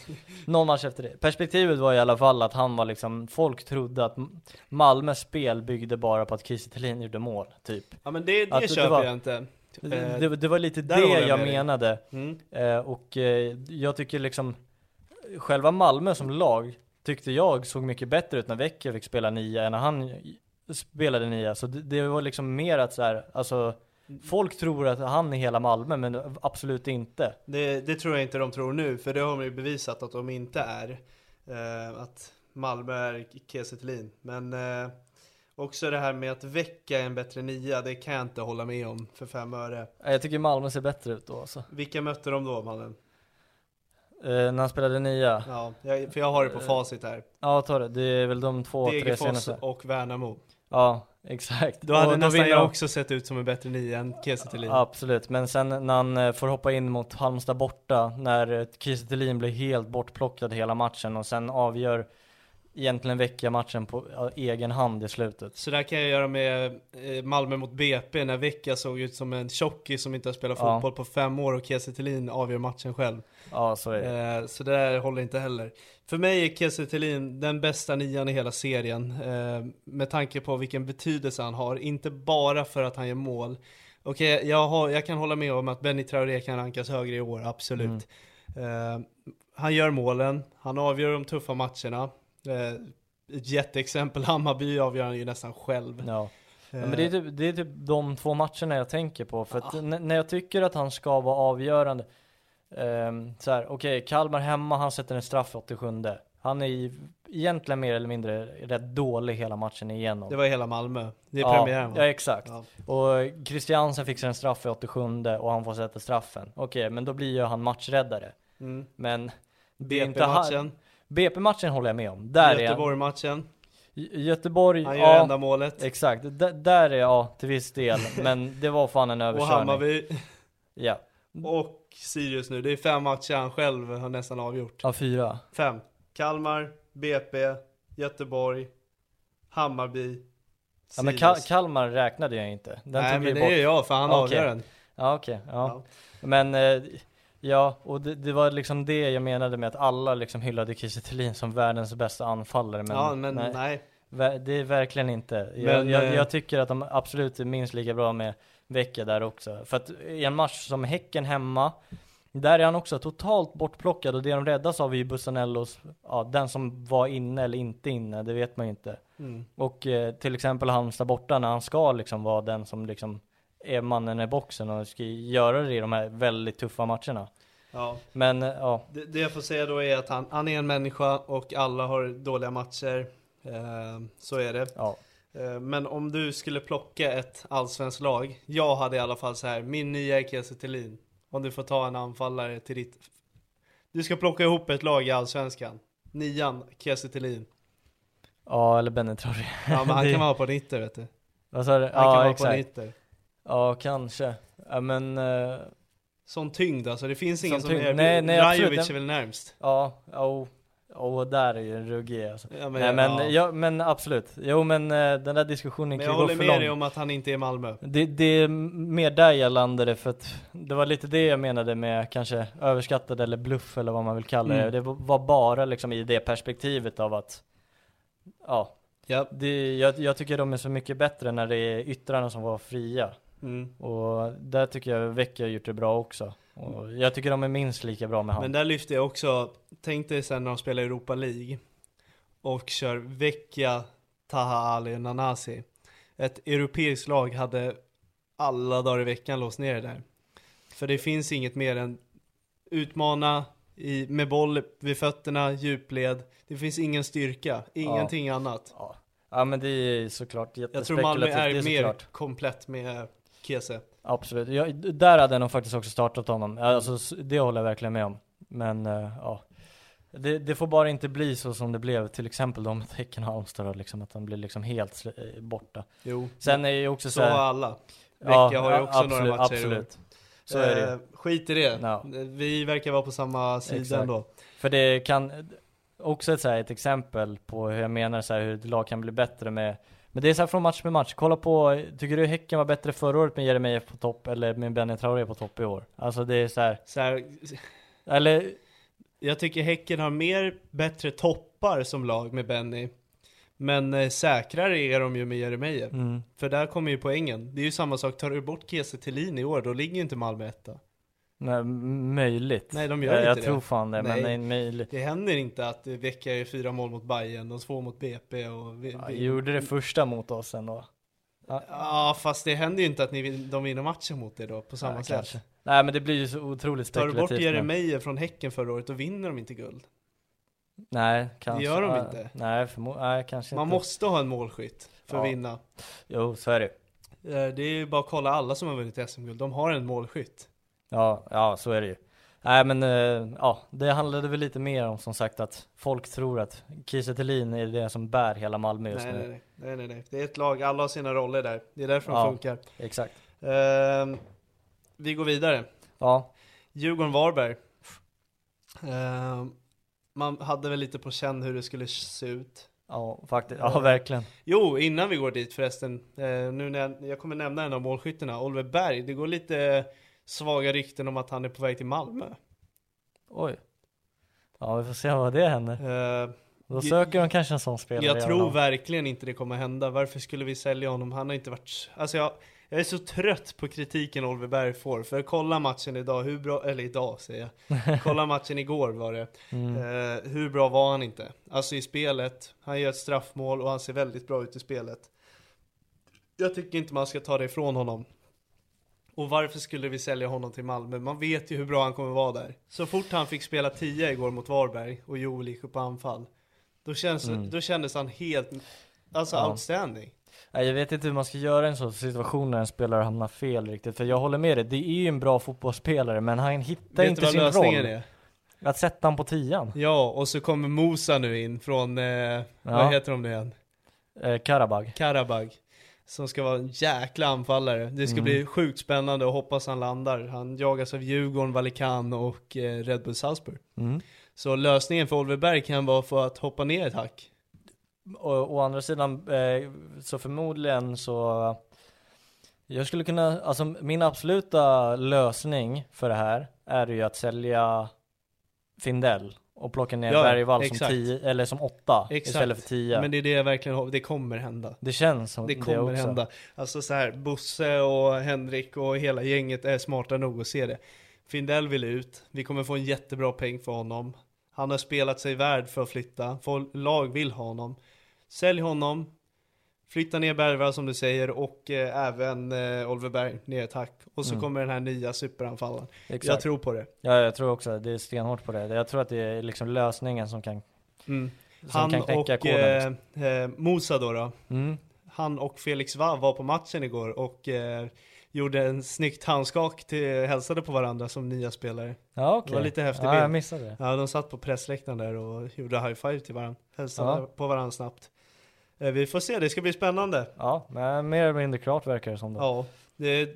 C: någon match efter det. Perspektivet var i alla fall att han var liksom, folk trodde att M- Malmös spel byggde bara på att Kiese Thelin gjorde mål, typ.
B: Ja men det, det
C: Att det- det
B: köper
C: var-
B: jag inte.
C: Det,
B: Eh,
C: det, det var lite
B: där
C: det
B: håller jag
C: jag
B: med dig.
C: menade.
B: Mm.
C: Eh, och eh, jag tycker liksom, själva Malmö som lag tyckte jag såg mycket bättre ut när Vecchio fick spela nia än när han spelade nia. Så det, det var liksom mer att så här, alltså, folk tror att han är hela Malmö, men absolut inte.
B: Det, det tror jag inte de tror nu, för det har de ju bevisat att de inte är. Eh, att Malmö är Kiese Thelin. Men eh, också det här med att väcka en bättre nia, det kan jag inte hålla med om för fem öre.
C: Eh, Jag tycker Malmö ser bättre ut då alltså.
B: Vilka mötte de då mannen?
C: Eh, när han spelade nia?
B: Ja, jag, för jag har det på facit här.
C: Ja, ta det. Det är väl de två, tre
B: Degerfors
C: senaste.
B: och Värnamo.
C: Ja, exakt.
B: Då hade
C: Och
B: nästan
C: vinner
B: jag
C: de.
B: också sett ut som en bättre nia än Kiese Thelin.
C: Absolut, men sen när han eh, får hoppa in mot Halmstad borta, när eh, Kiese Thelin blir helt bortplockad hela matchen och sen avgör egentligen vecka matchen på ja, egen hand i slutet.
B: Så där kan jag göra med eh, Malmö mot BP när Vecka såg ut som en tjockis som inte har spelat
C: Ja.
B: fotboll på fem år och Kiese Thelin avgör matchen själv.
C: Ja, så är det.
B: Eh, så det där håller inte heller. För mig är Kiese Thelin den bästa nian i hela serien. Eh, med tanke på vilken betydelse han har, inte bara för att han gör mål. Okej, jag, har, jag kan hålla med om att Benny Traoré kan rankas högre i år, absolut.
C: Mm.
B: Eh, han gör målen, han avgör de tuffa matcherna. Eh, ett jätteexempel, Hammarby avgör han ju nästan själv. Eh,
C: Ja. Ja, men det är, typ, det är typ de två matcherna jag tänker på. För
B: Ah.
C: att n- när jag tycker att han ska vara avgörande. Um, så här, okej, Kalmar hemma, han sätter en straff i 87. Han är ju egentligen mer eller mindre rätt dålig hela matchen igenom.
B: Det var hela Malmö. Det är
C: ja,
B: premiären va?
C: Ja, exakt.
B: Ja.
C: Och Christiansen fixar en straff i 87 och han får sätta straffen. Okej, men då blir ju han matchräddare.
B: Mm.
C: Men det är inte han-
B: BP-matchen,
C: BP-matchen håller jag med om. Där är han.
B: Göteborg-matchen,
C: Gö- Göteborg,
B: han gör
C: ja.
B: enda målet.
C: Exakt, D- där är jag till viss del, men det var fan en
B: Och
C: överkörning.
B: Hammarby
C: Ja,
B: och Sirius nu. Det är fem matcher han själv har nästan avgjort.
C: ja fyra.
B: Fem. Kalmar, BP, Göteborg, Hammarby,
C: Ja, men Kal- Kalmar räknade jag inte. Den
B: Nej
C: tog jag
B: men
C: ju
B: det
C: bort.
B: är jag för han
C: Okej.
B: avgör den.
C: Ja okej, ja.
B: Ja.
C: Men eh, ja, och det, det var liksom det jag menade med att alla liksom hyllade Kiese Thelin som världens bästa anfallare. Men,
B: ja men nej.
C: Ver- Det är verkligen inte. jag,
B: Men,
C: jag,
B: eh,
C: jag tycker att de absolut är minst lika bra med Vecchia där också. För att i en match som Häcken hemma, där är han också totalt bortplockad och det de räddas av är ju Bussanellos, ja den som var inne eller inte inne, det vet man ju inte.
B: Mm.
C: Och eh, till exempel Halmstad borta när han ska liksom vara den som liksom är mannen i boxen och ska göra det i de här väldigt tuffa matcherna.
B: Ja.
C: Men eh, ja,
B: Det, det jag får säga då är att han, han är en människa och alla har dåliga matcher. Eh, så är det.
C: ja.
B: Eh, Men om du skulle plocka ett allsvenskt lag. Jag hade i alla fall så här, min nya är Kiese Thelin. Om du får ta en anfallare till ditt... Du ska plocka ihop ett lag i allsvenskan. Nian, Kiese Thelin.
C: Ja, eller Benny Traoré.
B: Ja men han
C: Det-
B: kan vara på en ytter vet du.
C: Vad sa du?
B: Han kan
C: Ja,
B: vara på en
C: exakt.
B: ytter.
C: Ja, kanske. Ja, men eh,
B: Sån tyngd alltså, det finns ingen
C: Sån
B: som,
C: tyngd.
B: är...
C: Nej, nej, absolut.
B: Rajovic är väl närmst?
C: ja, oh, oh, där är ju en ruggig alltså.
B: Ja,
C: Nej men,
B: ja.
C: ja, men absolut. Jo men eh, den där diskussionen
B: men
C: kan
B: jag
C: ju gå
B: håller
C: för
B: med dig
C: långt.
B: om att han inte är Malmö.
C: Det, det är mer där jag landade för att det var lite det jag menade med kanske överskattad eller bluff eller vad man vill kalla det.
B: Mm.
C: Det var bara liksom i det perspektivet av att ja,
B: Ja.
C: det, jag, jag tycker de är så mycket bättre när det är yttrarna som var fria.
B: Mm.
C: Och där tycker jag Vecchio har gjort det bra också. Och jag tycker de är minst lika bra med han.
B: Men där lyfte jag också, tänk dig sen när de spelar Europa League och kör Vecchia, Taha Ali och Nanasi. Ett europeiskt lag hade alla dagar i veckan låst ner det där. För det finns inget mer än utmana i, med boll vid fötterna, djupled. Det finns ingen styrka, ingenting annat.
C: Ja. ja men det är såklart
B: Jag tror Malmö
C: jättespekulativt.
B: är,
C: det är
B: mer
C: såklart.
B: komplett med Kiese.
C: Absolut, jag, där hade jag nog faktiskt också startat honom. Alltså, s- det håller jag verkligen med om. Men eh, ja, det, det får bara inte bli så som det blev till exempel då med Häcken och Halmstad då, liksom, att de blir liksom helt sl- eh, borta.
B: Jo,
C: Sen är det ju också
B: så
C: så
B: har
C: här,
B: alla. Vecchia har ju också
C: absolut,
B: några matcher i år.
C: Absolut, så är det ju.
B: Eh, Skit i det.
C: Ja.
B: Vi verkar vara på samma sida
C: Exakt.
B: ändå.
C: För det kan också ett, så här, ett exempel på hur jag menar så här, hur ett lag kan bli bättre med men det är så här från match med match. Kolla på, tycker du Häcken var bättre förra året med Jeremejeff på topp eller med Benny Traoré på topp i år? Alltså det är så här,
B: Så här,
C: eller
B: jag tycker Häcken har mer bättre toppar som lag med Benny. Men eh, säkrare är de ju med Jeremejeff.
C: mm,
B: För där kommer ju poängen. Det är ju samma sak, tar du bort Kiese Thelin i år, då ligger ju inte Malmö etta.
C: Nej, m- möjligt. Eh,
B: Nej, de gör
C: jag,
B: inte
C: jag
B: det.
C: tror fan det,
B: Nej.
C: men nej, möjligt.
B: Det händer inte att eh, Vecchia gör fyra mål mot Bayern och två mot BP och... Vi,
C: Ja,
B: vi-
C: gjorde det första mot oss ändå.
B: Ja, fast det händer ju inte att ni, vin- de vinner matchen mot er då på samma
C: Ja,
B: sätt.
C: kanske. Nej, men det blir ju så otroligt
B: Tar du
C: spekulativt.
B: bort
C: men-
B: Jeremejeff från Häcken förra året, då vinner de inte guld.
C: Nej, kanske.
B: gör de
C: Ja,
B: inte.
C: Nej, förmo- nej kanske
B: Man
C: inte.
B: måste ha en målskytt för att
C: Ja.
B: vinna.
C: Jo, så är det
B: Eh, Det är ju bara att kolla alla som har vunnit SM-guld, de har en målskytt.
C: Ja, ja, så är det ju. Nej, men eh, ja, det handlade väl lite mer om som sagt att folk tror att Kiese Thelin är det som bär hela Malmö just
B: Nej
C: nu.
B: nej, nej, nej, nej, nej. Det är ett lag, alla har sina roller där. Det är därför de
C: Ja.
B: funkar.
C: Exakt.
B: Ehm, vi går vidare.
C: Ja,
B: Djurgården-Varberg. Ehm, man hade väl lite på känn hur det skulle se ut.
C: ja, faktiskt. Ja, verkligen.
B: Jo, innan vi går dit förresten. Eh, nu när jag, jag kommer nämna en av målskyttarna, Oliver Berg. Det går lite svaga rykten om att han är på väg till Malmö.
C: Oj. Ja, vi får se vad det händer.
B: Ehm,
C: Då söker de kanske en sån spelare.
B: Jag
C: i
B: tror
C: Arlanda.
B: verkligen inte det kommer hända. Varför skulle vi sälja honom? Han har inte varit... Alltså jag, jag är så trött på kritiken Oliver Berg får. För kolla matchen idag, hur bra... Eller idag säger jag. Kolla matchen igår var det. Eh, hur bra var han inte? Alltså i spelet. Han gör ett straffmål och han ser väldigt bra ut i spelet. Jag tycker inte man ska ta det ifrån honom. Och varför skulle vi sälja honom till Malmö? Man vet ju hur bra han kommer vara där. Så fort han fick spela 10 igår mot Varberg och Joel gick upp på anfall. Då, känns, då kändes han helt, alltså
C: Mm. Ja.
B: outstanding.
C: Nej, jag vet inte hur man ska göra i en sån situation när en spelare hamnar fel riktigt. För jag håller med dig, det är ju en bra fotbollsspelare men han hittar
B: Vet du
C: inte
B: vad
C: sin
B: lösningen
C: roll.
B: är?
C: Att sätta han på tian.
B: Ja, och så kommer Mosa nu in från, eh, vad heter de nu igen?
C: Eh, Karabag.
B: Karabag. Som ska vara en jäkla anfallare. Det ska
C: Mm.
B: bli sjukt spännande och hoppas han landar. Han jagas av Djurgården, Valikan och eh, Red Bull Salzburg.
C: Mm.
B: Så lösningen för Oliver Berg kan vara för att hoppa ner ett hack.
C: Och, å andra sidan, eh, så förmodligen så jag skulle kunna, alltså min absoluta lösning för det här är ju att sälja Findell och plocka ner
B: Ja,
C: Bergvall som,
B: exakt.
C: tio, eller som åtta
B: Exakt.
C: istället för tio.
B: Men det är det jag verkligen hoppas, det kommer hända.
C: det känns som
B: Det
C: det,
B: kommer
C: också.
B: hända. Alltså så här, Bosse och Henrik och hela gänget är smarta nog att se det. Findell vill ut, vi kommer få en jättebra peng för honom. Han har spelat sig värd för att flytta, Folk, lag vill ha honom. Sälj honom, Flytta ner Bergvall som du säger och eh, även eh, Oliver Berg ner i ett hack. Och så
C: Mm.
B: kommer den här nya superanfallaren.
C: Exakt.
B: Jag tror på det.
C: Ja, jag tror också det. Det är stenhårt på det. Jag tror att det är liksom lösningen som kan,
B: Mm.
C: som
B: Han
C: kan
B: och
C: knäcka koden.
B: eh,
C: liksom.
B: eh, Musa då, då.
C: Mm.
B: Han och Felix Wav var på matchen igår och eh, gjorde en snyggt handskak till hälsade på varandra som nya spelare.
C: Ja, okej.
B: det var lite häftig
C: ja,
B: bild.
C: jag missade det.
B: Ja, de satt på pressläktaren där och gjorde high five till varandra. Hälsade
C: Ja.
B: på varandra snabbt. Eh, vi får se, det ska bli spännande.
C: Ja, men mer eller mindre klart verkar det som då.
B: Ja, det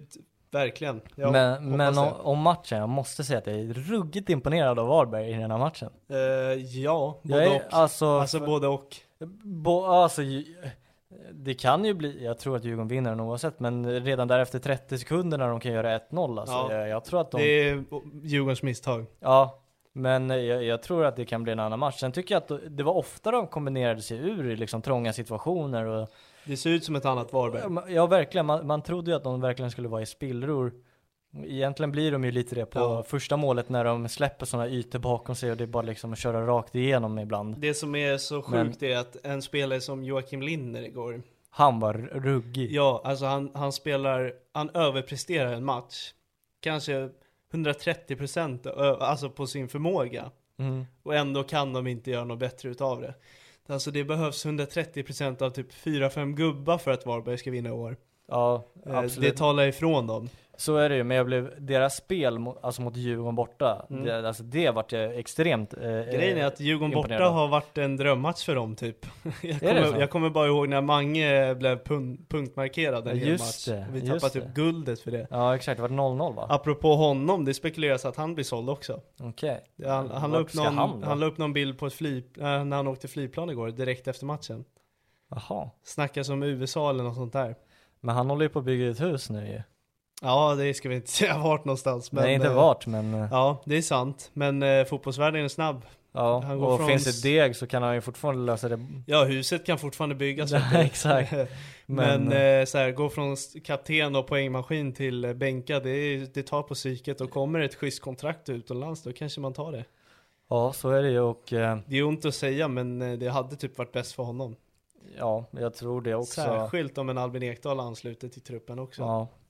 B: verkligen. Jag
C: men
B: hoppas
C: men om,
B: det.
C: om matchen, jag måste säga att jag är ruggigt imponerad av Varberg i den här matchen.
B: Eh, ja, både
C: Jag är,
B: och.
C: Alltså,
B: Alltså både och.
C: bo, alltså, ju- det kan ju bli, jag tror att Djurgården vinner den oavsett, men redan där efter 30 sekunder när de kan göra 1-0 alltså,
B: Ja.
C: jag, jag tror att de...
B: Det är Djurgårdens misstag.
C: Ja, men jag, jag tror att det kan bli en annan match. Sen tycker jag att det var ofta de kombinerade sig ur i liksom trånga situationer. Och,
B: Det ser ut som ett annat Varberg.
C: ja, verkligen. Man, man trodde ju att de verkligen skulle vara i spillror. Egentligen blir de ju lite det på
B: Ja.
C: första målet när de släpper sådana ytor bakom sig och det är bara liksom att köra rakt igenom ibland.
B: Det som är så
C: Men-
B: sjukt är att en spelare som Joakim Linner igår,
C: Han var ruggig.
B: ja alltså han, han spelar, han överpresterar en match. Kanske 130% ö- alltså på sin förmåga.
C: Mm.
B: Och ändå kan de inte göra något bättre utav det. Alltså det behövs 130% av typ 4-5 gubbar för att Varberg ska vinna i år.
C: Ja,
B: Eh,
C: absolut.
B: Det talar ifrån dem.
C: Så är det ju, men jag blev, deras spel mot, alltså mot Djurgården borta,
B: Mm.
C: det, alltså det vart jag extremt eh,
B: Grejen är att Djurgården
C: imponerad
B: borta
C: av.
B: har varit en drömmatch för dem typ. Jag
C: det
B: kommer,
C: så?
B: jag kommer bara ihåg när Mange blev pun- punktmarkerad en
C: Ja,
B: hel match.
C: just det,
B: och vi
C: just
B: tappade typ
C: det.
B: guldet för det.
C: Ja exakt, det var 0-0 va?
B: Apropå honom, det spekuleras att han blir såld också.
C: Okej.
B: Han, han, la
C: Vart
B: upp
C: ska
B: någon,
C: han
B: han,
C: då?
B: la upp någon bild på ett flyg, eh, när han åkte flygplan igår direkt efter matchen.
C: Jaha.
B: Snackas om USA eller något sånt där.
C: Men han håller ju på att bygga ett hus nu ju.
B: Ja, det ska vi inte säga vart någonstans. Men,
C: Nej inte
B: eh,
C: vart men eh,
B: Ja, det är sant. Men eh, fotbollsvärlden är snabb.
C: ja.
B: han går
C: Och
B: från
C: finns
B: s-
C: det deg så kan han ju fortfarande lösa det.
B: Ja, huset kan fortfarande byggas.
C: Ja,
B: vet du.
C: exakt.
B: Men,
C: Men,
B: eh, så här, gå från s- kapten och poängmaskin till eh, bänka, det, är- det tar på psyket. Och kommer ett schysst kontrakt utomlands, då kanske man tar det.
C: Ja så är det ju och eh,
B: Det är ont att säga, men eh, det hade typ varit bäst för honom.
C: ja jag tror det också.
B: Särskilt om en Albin Ekdal ansluter till truppen också.
C: Ja.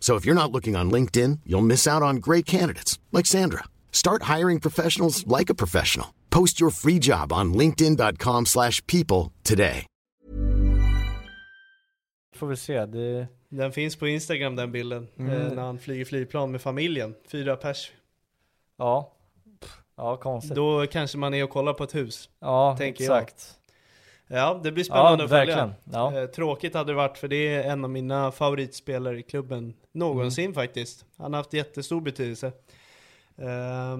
D: So if you're not looking on LinkedIn, you'll miss out on great candidates like Sandra. Start hiring professionals like a professional. Post your free job on linkedin.com/people slash people today.
C: får väl se. Det,
B: Den finns på Instagram den bilden,
C: Mm.
B: eh, när han flyger flygplan med familjen, fyra pers.
C: ja. Ja konstigt.
B: Då kanske man är och kollar på ett hus.
C: ja
B: tänker jag.
C: exakt.
B: Ja, det blir
C: Ja
B: spännande att följa.
C: verkligen. Ja.
B: Eh, Tråkigt hade det varit för det är en av mina favoritspelare i klubben någonsin
C: Mm.
B: faktiskt. Han har haft jättestor betydelse. Eh,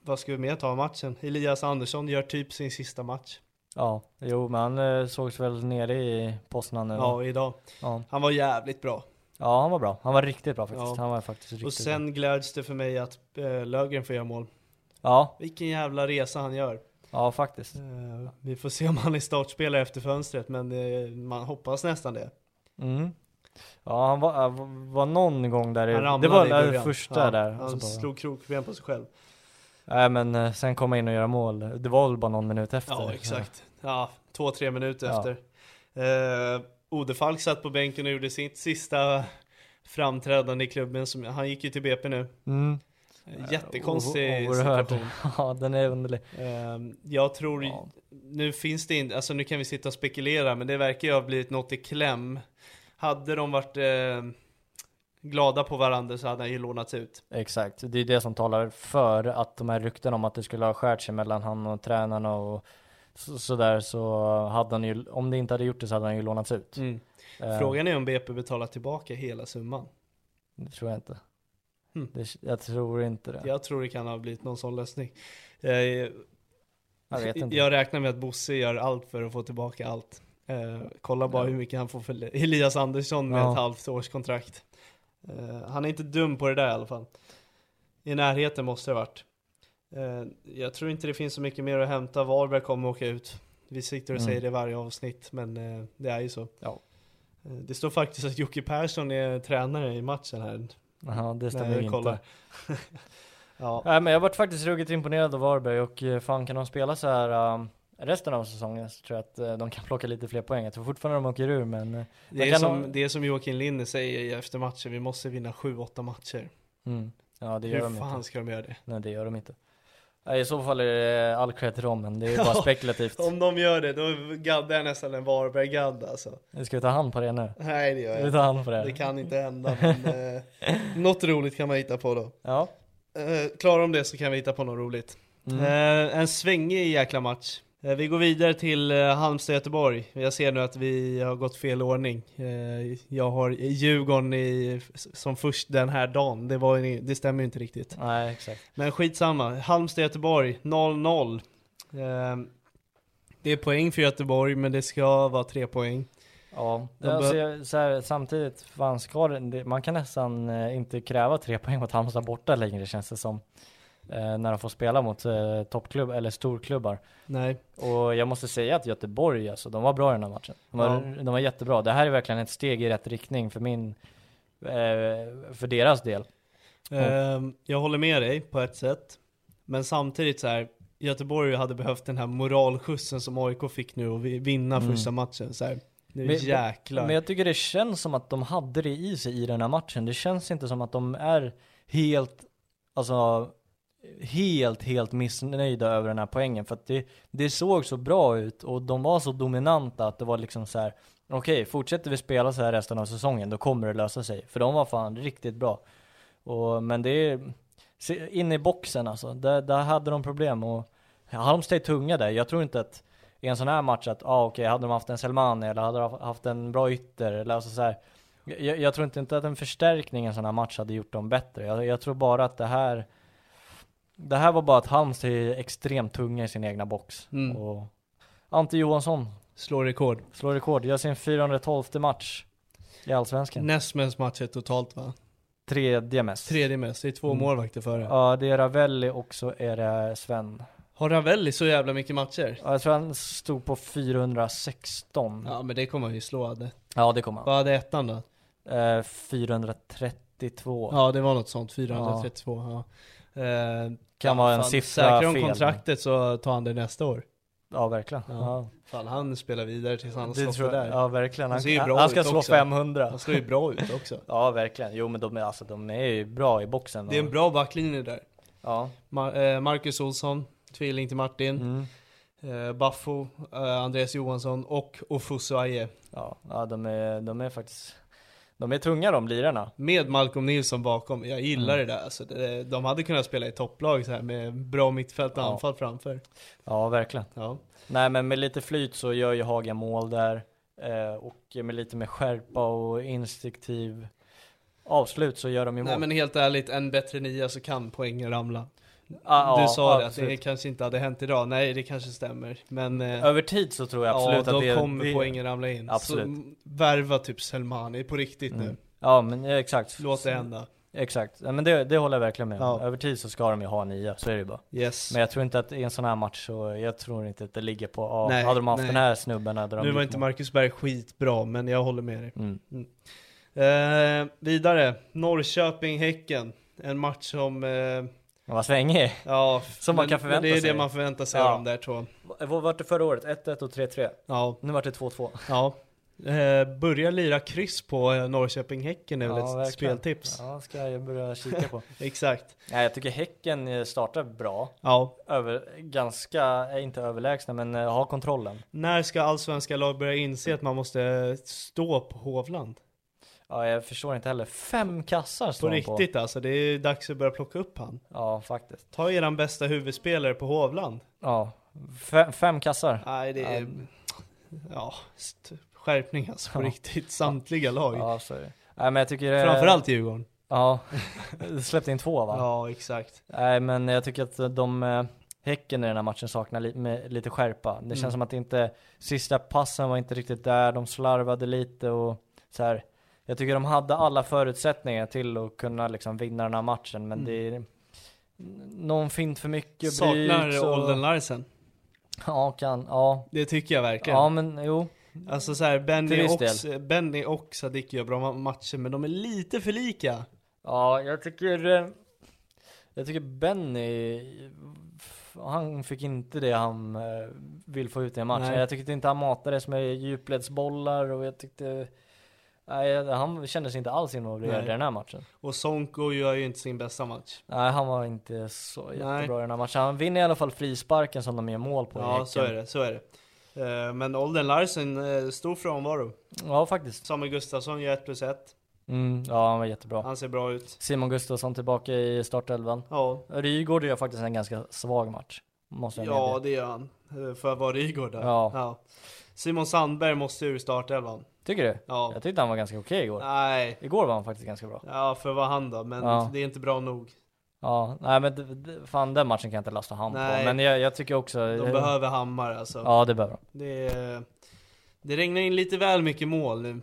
B: vad ska vi mer ta av matchen? Elias Andersson gör typ sin sista match.
C: Ja, jo men han eh, sågs väl nere i Poznan nu. Ja.
B: Ja, idag.
C: Ja.
B: Han var jävligt bra.
C: ja, han var bra. Han var riktigt bra faktiskt.
B: Ja.
C: Han var faktiskt riktigt
B: Och sen gläds det för mig att eh, Lögren får göra mål.
C: bra. Ja,
B: Vilken jävla resa han gör.
C: ja faktiskt.
B: Eh, vi får se om han är startspelare efter fönstret, men eh, man hoppas nästan det.
C: Mm. Ja, han var, han var någon gång där i,
B: Han
C: Det
B: ramlade
C: var
B: i
C: den
B: början.
C: första
B: ja,
C: där.
B: Han
C: och så bara-
B: slog krokben på sig själv.
C: Nej men eh, sen komma in och göra mål. Det var väl bara någon minut efter.
B: Ja, exakt. Ja, två, tre minuter
C: Ja.
B: efter. Eh, Odefalk satt på bänken och gjorde sitt sista framträdande i klubben. Som, han gick ju till BP nu.
C: Mm. Eh,
B: Jättekonstig
C: O- oerhört.
B: situation.
C: ja, den är underlig.
B: Eh, jag tror,
C: Ja.
B: nu finns det inte, alltså nu kan vi sitta och spekulera, men det verkar ju ha blivit något i kläm. Hade de varit eh, glada på varandra så hade han ju lånats ut.
C: Exakt, det är det som talar för att de här rykten om att det skulle ha skärt sig mellan han och tränarna och så- sådär så, hade han ju, om det inte hade gjort det så hade han ju lånats ut.
B: Mm.
C: Eh,
B: Frågan är om BP betalar tillbaka hela summan.
C: Det tror jag inte.
B: Hmm.
C: Det, jag tror inte det.
B: Jag tror det kan ha blivit någon sån lösning. Eh,
C: Jag vet inte.
B: Jag räknar med att Bosse gör allt för att få tillbaka allt. Eh, kolla bara
C: Ja.
B: hur mycket han får för Elias Andersson med
C: Ja.
B: ett halvt års kontrakt. Eh, han är inte dum på det där i alla fall. I närheten måste det ha varit. Eh, jag tror inte det finns så mycket mer att hämta. Varberg kommer åka ut. Vi sitter och
C: Mm.
B: säger det i varje avsnitt, men eh, det är ju så.
C: Ja.
B: Eh, Det står faktiskt att Jocke Persson är tränare i matchen här.
C: Ja, det stämmer
B: Nej,
C: ju
B: kolla.
C: inte.
B: Ja,
C: Nej, men jag varit faktiskt ruggigt imponerad av Varberg och eh, fan kan de spela så här ehm, resten av säsongen så tror jag att eh, de kan plocka lite fler poäng. Jag tror fortfarande de åker ur men eh,
B: det, är
C: kan
B: som,
C: ha-
B: det är som Joakim Linne säger efter matchen, vi måste vinna 7-8 matcher.
C: mm, ja det gör
B: Hur
C: de
B: fan
C: inte.
B: ska de göra det?
C: Nej det gör de inte. Nej, I så fall är det all cred till dem men det är ju bara spekulativt.
B: Om de gör det, då gaddar jag nästan en Varberg-gadd alltså.
C: Ska vi ta hand på det nu?
B: Nej det gör jag
C: Vi
B: inte.
C: tar hand på det.
B: Det kan inte hända, men eh, något roligt kan man hitta på då.
C: Ja.
B: Eh, klarar de det så kan vi hitta på något roligt. Eh, en svängig jäkla match. Eh, vi går vidare till eh, Halmstad-Göteborg. Jag ser nu att vi har gått fel ordning. Eh, jag har Djurgården i, som först den här dagen. Det, var, ju- det stämmer ju inte riktigt.
C: Nej exakt.
B: Men skitsamma. Halmstad-Göteborg 0-0. Ehm, det är poäng för Göteborg, men det ska vara tre poäng.
C: Ja,
B: De
C: alltså,
B: bör-
C: jag, så här, samtidigt, fan ska det, det- man kan nästan eh, inte kräva tre poäng mot Halmstad borta längre känns det som. Eh, när de får spela mot eh, toppklubb eller storklubbar.
B: Nej,
C: Och jag måste säga att Göteborg alltså, de var bra i den här matchen. De var, de var jättebra. Det här är verkligen ett steg i rätt riktning för min, eh, för deras del.
B: Ehm, jag håller med dig på ett sätt. Men samtidigt så här, Göteborg hade behövt den här moralskjutsen som AIK fick nu och vi- vinna
C: Mm.
B: första matchen. Så här, nu
C: Men-
B: jäklar.
C: Men jag tycker det känns som att de hade det i sig i den här matchen. Det känns inte som att de är helt, alltså helt, helt missnöjda över den här poängen. För att det, det såg så bra ut och de var så dominanta att det var liksom så här. okej, fortsätter vi spela så här resten av säsongen då kommer det lösa sig. För de var fan riktigt bra. Och, men det är, se- in i boxen alltså, där, där hade de problem och Halmstad är tunga där. Jag tror inte att i en sån här match att, ah, okej, hade de haft en Selmani eller hade de haft en bra ytter eller alltså så här. Jag, jag tror inte, inte att en förstärkning i en sån här match hade gjort dem bättre. Jag, jag tror bara att det här, det här var bara att Halmstad är extremt tunga i sin egna box.
B: Mm.
C: Och Ante Johansson
B: Slår rekord.
C: slår rekord, gör sin 412 match i Allsvenskan.
B: Näst mest matcher totalt va?
C: Tredje mest.
B: Tredje mest, det är två
C: Mm.
B: målvakter före.
C: Ja, det är Ravelli och så är det Sven.
B: Har Ravelli så jävla mycket matcher?
C: Ja, Jag tror han stod på 416. Ja,
B: Ja men det kommer han ju slå. hade.
C: det kommer han.
B: Vad hade ettan då?
C: Eh, 432.
B: Ja det var något sånt, 432 ja. Eh,
C: Kan
B: ja,
C: vara en
B: fan,
C: siffra
B: Säkrar de
C: fel.
B: kontraktet så tar han det nästa år.
C: Ja, verkligen.
B: Ja.
C: Ja.
B: Fan han spelar vidare tills han har
C: Det
B: slått det
C: tror
B: där.
C: jag. Ja, verkligen.
B: Han
C: Han,
B: ser ju bra
C: han ska
B: ut
C: slå
B: också.
C: 500.
B: Han slår ju bra ut också.
C: Ja, verkligen. Jo, men de är, alltså, de är ju bra i boxen.
B: Det är en
C: och-
B: bra backlinje där.
C: Ja.
B: Ma- eh, Marcus Olsson, tvilling till Martin,
C: Mm.
B: eh, Baffo, eh, Andreas Johansson och Ofusu Aye.
C: Ja, ja de, är, de är faktiskt... De är tunga de lirarna.
B: Med Malcolm Nilsson bakom. Jag gillar
C: Mm.
B: det där. Alltså, det, de hade kunnat spela i topplag så här med bra mittfält och
C: Ja.
B: anfall framför.
C: Ja, verkligen.
B: Ja.
C: Nej men med lite flyt så gör ju Haga mål där eh, och med lite mer skärpa och instinktiv avslut så gör de ju mål.
B: Nej men helt ärligt, en bättre nia så kan poängen ramla.
C: Ah,
B: du
C: ja,
B: sa det, att det
C: absolut.
B: kanske inte hade hänt idag. Nej, det kanske stämmer. Men eh,
C: Över tid så tror jag absolut
B: ja, då
C: att det
B: kommer
C: det,
B: poängen ramla in.
C: Absolut.
B: Så m- värva typ Selmani på riktigt nu.
C: Ja men eh, exakt.
B: Låt det hända.
C: Exakt, Ja, men det, det håller jag verkligen med om.
B: Ja.
C: Över tid så ska de ju ha nia, så är det ju bara.
B: Yes.
C: Men jag tror inte att i en sån här match så, jag tror inte att det ligger på, ah,
B: Nej,
C: hade de haft
B: nej.
C: den här snubben hade de
B: nu var
C: gjort
B: inte
C: mål.
B: Marcus Berg skitbra, men jag håller med dig.
C: Mm.
B: Eh, vidare, Norrköping-Häcken. En match som, eh,
C: Men vad svängig.
B: ja,
C: Som man
B: men-
C: kan förvänta
B: men Det är
C: sig.
B: det man förväntar sig
C: Ja.
B: av de där två.
C: eh, Vad vart det förra året? 1-1 och 3-3.
B: Ja,
C: Nu vart det 2-2.
B: ja. Eh, börja lira kryss på eh, Norrköping-Häcken är väl ett
C: verkligen.
B: speltips.
C: Ja, ska jag börja kika på.
B: Exakt.
C: Nej, jag tycker Häcken eh, startar bra.
B: Ja.
C: Över, ganska, eh, inte överlägsna, men eh, har kontrollen.
B: När ska allsvenska lag börja inse att man måste stå på Hovland?
C: Ja, jag förstår inte heller. Fem kassar
B: På
C: står han på.
B: riktigt alltså, det är dags att börja plocka upp han.
C: Ja, faktiskt.
B: Ta eran bästa huvudspelare på Hovland.
C: Ja, fem, fem kassar.
B: Nej, det är...
C: Ja.
B: Ja, st- skärpning alltså på
C: Ja.
B: riktigt. Samtliga lag.
C: Ja, så är det. Nej, men jag tycker det...
B: Framförallt Djurgården.
C: Ja, släppte in två va?
B: Ja, exakt.
C: Nej, men jag tycker att de eh, Häcken i den här matchen saknar li med lite skärpa. Det
B: Mm.
C: känns som att det inte, sista passen var inte riktigt där, de slarvade lite och så här. Jag tycker de hade alla förutsättningar till att kunna liksom vinna den här matchen, men det är någon fint för mycket. Bryts
B: Mm. Saknar
C: och-
B: Olden Larsen.
C: Ja, kan, ja.
B: Det tycker jag verkligen.
C: Ja, men jo.
B: Alltså så här,
C: Till
B: Benny
C: viss
B: och, Benny och Sadiq gör bra ma- matcher, men de är lite för lika.
C: Ja, jag tycker eh, Jag tycker Benny f- Han fick inte det han eh, vill få ut i matchen.
B: Nej.
C: Jag tyckte inte han matades med djupledsbollar och jag tyckte Nej, han kändes inte alls involverad i
B: Nej.
C: den här matchen.
B: Och Sonko gör ju inte sin bästa match.
C: Nej, han var inte så jättebra
B: Nej.
C: i den här matchen. Han vinner i alla fall frisparken som de gör mål på i
B: Ja,
C: Häcken.
B: så är det. Så är det. Eh, Men Olden Larsen, eh, stor frånvaro.
C: Ja, faktiskt.
B: Samuel Gustafsson gör 1 plus 1.
C: Mm, ja, han var jättebra.
B: Han ser bra ut.
C: Simon Gustafsson tillbaka i startelvan.
B: Ja,
C: Rygaard gör faktiskt en ganska svag match. Måste jag medge.
B: ja det gör han. Eh, För att vara Rygaard där.
C: Ja.
B: Simon Sandberg måste ur startelvan.
C: Tycker du?
B: Ja.
C: Jag tyckte han var ganska okej igår.
B: Nej.
C: Igår var han faktiskt ganska bra.
B: Ja, för vad han då, men
C: Ja.
B: det är inte bra nog.
C: Ja, nej men d- d- fan den matchen kan jag inte lasta han på.
B: Nej.
C: Men jag, jag tycker också... eh,
B: De behöver hammar alltså.
C: Ja det behöver de.
B: Det, är- det regnar in lite väl mycket mål nu.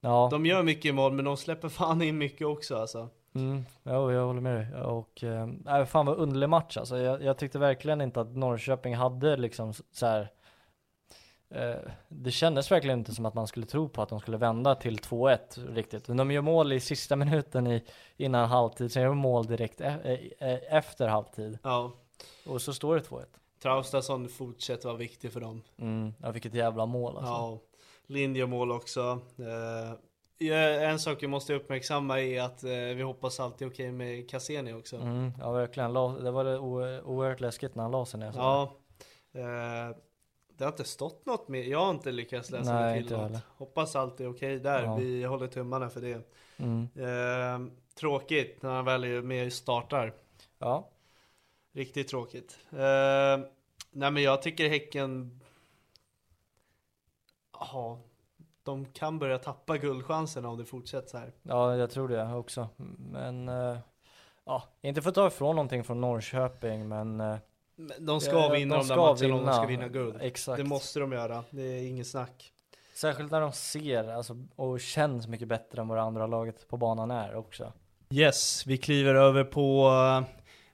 C: Ja,
B: De gör mycket mål, men de släpper fan in mycket också alltså.
C: mm, jo, jag håller med dig. Och eh, nej, fan vad underlig match alltså. Jag, jag tyckte verkligen inte att Norrköping hade liksom s- så här. Eh, det kändes verkligen inte som att man skulle tro på att de skulle vända till 2-1 riktigt. Men de gör mål i sista minuten i, innan halvtid, sen gör de mål direkt e- e- e- efter halvtid.
B: Ja.
C: Och så står det 2-1.
B: Traustason fortsätter vara viktig för dem.
C: Mm, ja, vilket jävla mål alltså.
B: Ja. Lind gör mål också. Eh, ja, en sak vi måste uppmärksamma är att eh, vi hoppas allt är okej med Cassini också.
C: Mm, ja verkligen, La- det var det o- oerhört läskigt när han la sig ner. så.
B: Ja. Eh, det har inte stått något mer. Jag har inte lyckats läsa
C: Nej,
B: mig till
C: inte
B: något.
C: heller.
B: Hoppas allt är okej där.
C: Ja.
B: Vi håller tummarna för det.
C: Mm.
B: Eh, tråkigt när han väl är med och startar.
C: Ja.
B: Riktigt tråkigt. Eh, nej men jag tycker Häcken... Ja, de kan börja tappa guldchanserna om det fortsätter så här.
C: ja, jag tror det också. Men, eh, ja, inte för att ta ifrån någonting från Norrköping, men... eh,
B: Men de ska
C: ja,
B: vinna de,
C: ska
B: där matcherna om de ska vinna guld.
C: Exakt.
B: Det måste de göra, det är inget snack.
C: Särskilt när de ser alltså, och känns mycket bättre än vad det andra laget på banan är också.
B: Yes, vi kliver över på, eh,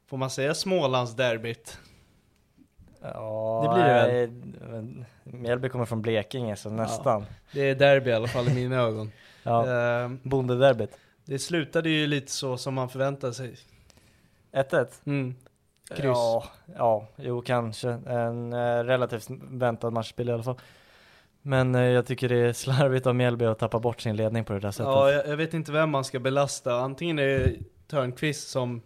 B: får man säga Smålandsderbyt?
C: Ja,
B: Det blir det väl?
C: nej, men Mjällby kommer från Blekinge, så nästan.
B: Det är derby i alla fall i mina ögon.
C: Ja.
B: Eh,
C: Bondederbyt.
B: det slutade ju lite så som man förväntade sig.
C: 1-1.
B: Mm. Kryss.
C: Ja, ja, jo kanske. En eh, relativt väntad matchbild i alla fall. Men eh, jag tycker det är slarvigt av Mjällby att tappa bort sin ledning på det där sättet.
B: Ja, jag, jag vet inte vem man ska belasta. Antingen är det Törnqvist som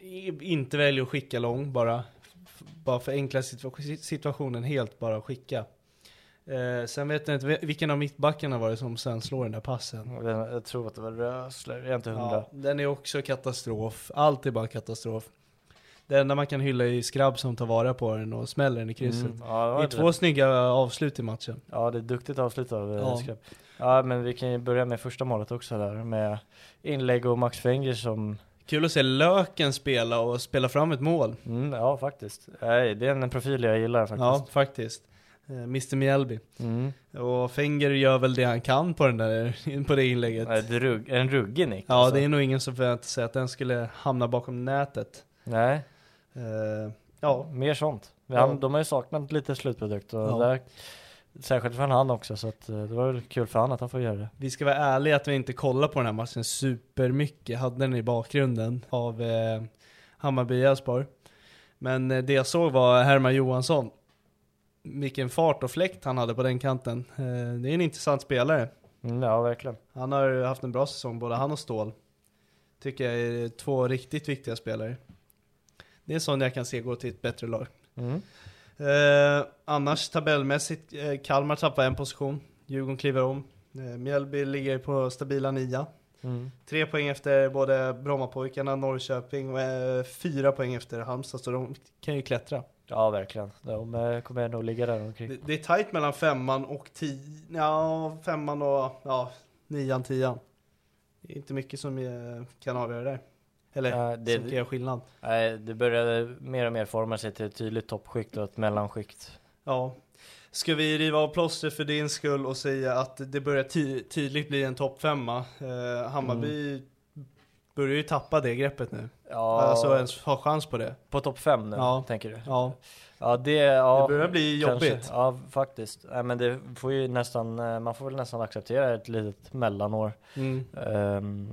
B: i- inte väljer att skicka lång bara. F- Bara för enkla situa- situationen helt bara skicka. Eh, sen vet jag inte ve- vilken av mittbackarna var det som sen slår den där passen.
C: Jag, vet- jag tror att det var Rösler, jag är inte hundra.
B: Ja, den är också katastrof. Allt är bara katastrof. Det enda man kan hylla är Skrabb som tar vara på den och smäller den i krysset.
C: Mm, ja, det
B: det
C: var
B: är
C: ett
B: två
C: rätt-
B: snygga avslut i matchen.
C: ja, det är duktigt avslut av
B: Ja.
C: ja. ja, men vi kan ju börja med första målet också där med inlägg och Max Fenger som,
B: Kul att se Löken spela och spela fram ett mål.
C: mm, ja faktiskt. Nej, det är en profil jag gillar
B: Ja,
C: faktiskt.
B: faktiskt. Eh, Mr Mjällby.
C: Mm.
B: Och Fenger gör väl det han kan på, den där, på det inlägget.
C: Ett rugg, en ruggig nick.
B: ja,
C: alltså.
B: det är nog ingen som förväntar sig att den skulle hamna bakom nätet.
C: Nej,
B: Eh, ja,
C: Mer sånt. Vi
B: Ja.
C: har- De har ju saknat lite slutprodukt och
B: Ja.
C: där, särskilt från han också så att eh, det var väl kul för han att han får göra det.
B: vi ska vara ärliga att vi inte kollar på den här matchen supermycket. Hade den i bakgrunden av eh, Hammarby Elfsborg. Men eh, det jag såg var Herman Johansson. Vilken fart och fläkt han hade på den kanten. Eh, det är en intressant spelare.
C: Mm, ja, verkligen.
B: Han har haft en bra säsong, både han och Ståhl. Tycker jag är två riktigt viktiga spelare. Det är en sån jag kan se gå till ett bättre lag.
C: Mm.
B: Eh, annars tabellmässigt, eh, Kalmar tappar en position. Djurgården kliver om. Eh, Mjällby ligger på stabila nia.
C: Mm.
B: Tre poäng efter både Brommapojkarna, Norrköping och eh, fyra poäng efter Halmstad. Så de kan ju klättra.
C: Ja, verkligen. De eh, kommer nog ligga där omkring.
B: Det, det är tajt mellan femman och tio, ja, femman och ja, nian, tian. Det är inte mycket som eh, kan avgöra där. Eller
C: Ja, Eh, det-
B: som kan göra skillnad.
C: Nej, det börjar mer och mer forma sig till ett tydligt toppskikt och ett mellanskikt.
B: Ja. Ska vi riva av plåster för din skull och säga att det börjar ty- tydligt bli en topp femma? Eh, Hammarby börjar ju tappa det greppet nu.
C: Mm. Ja,
B: Alltså ens ha chans på det.
C: på topp fem nu,
B: Ja.
C: tänker du?
B: Ja.
C: Ja, det, ja,
B: Det börjar bli
C: kanske.
B: jobbigt.
C: Ja, faktiskt. Nej, men det får ju nästan, eh, man får väl nästan acceptera ett litet mellanår.
B: Mm.
C: Um,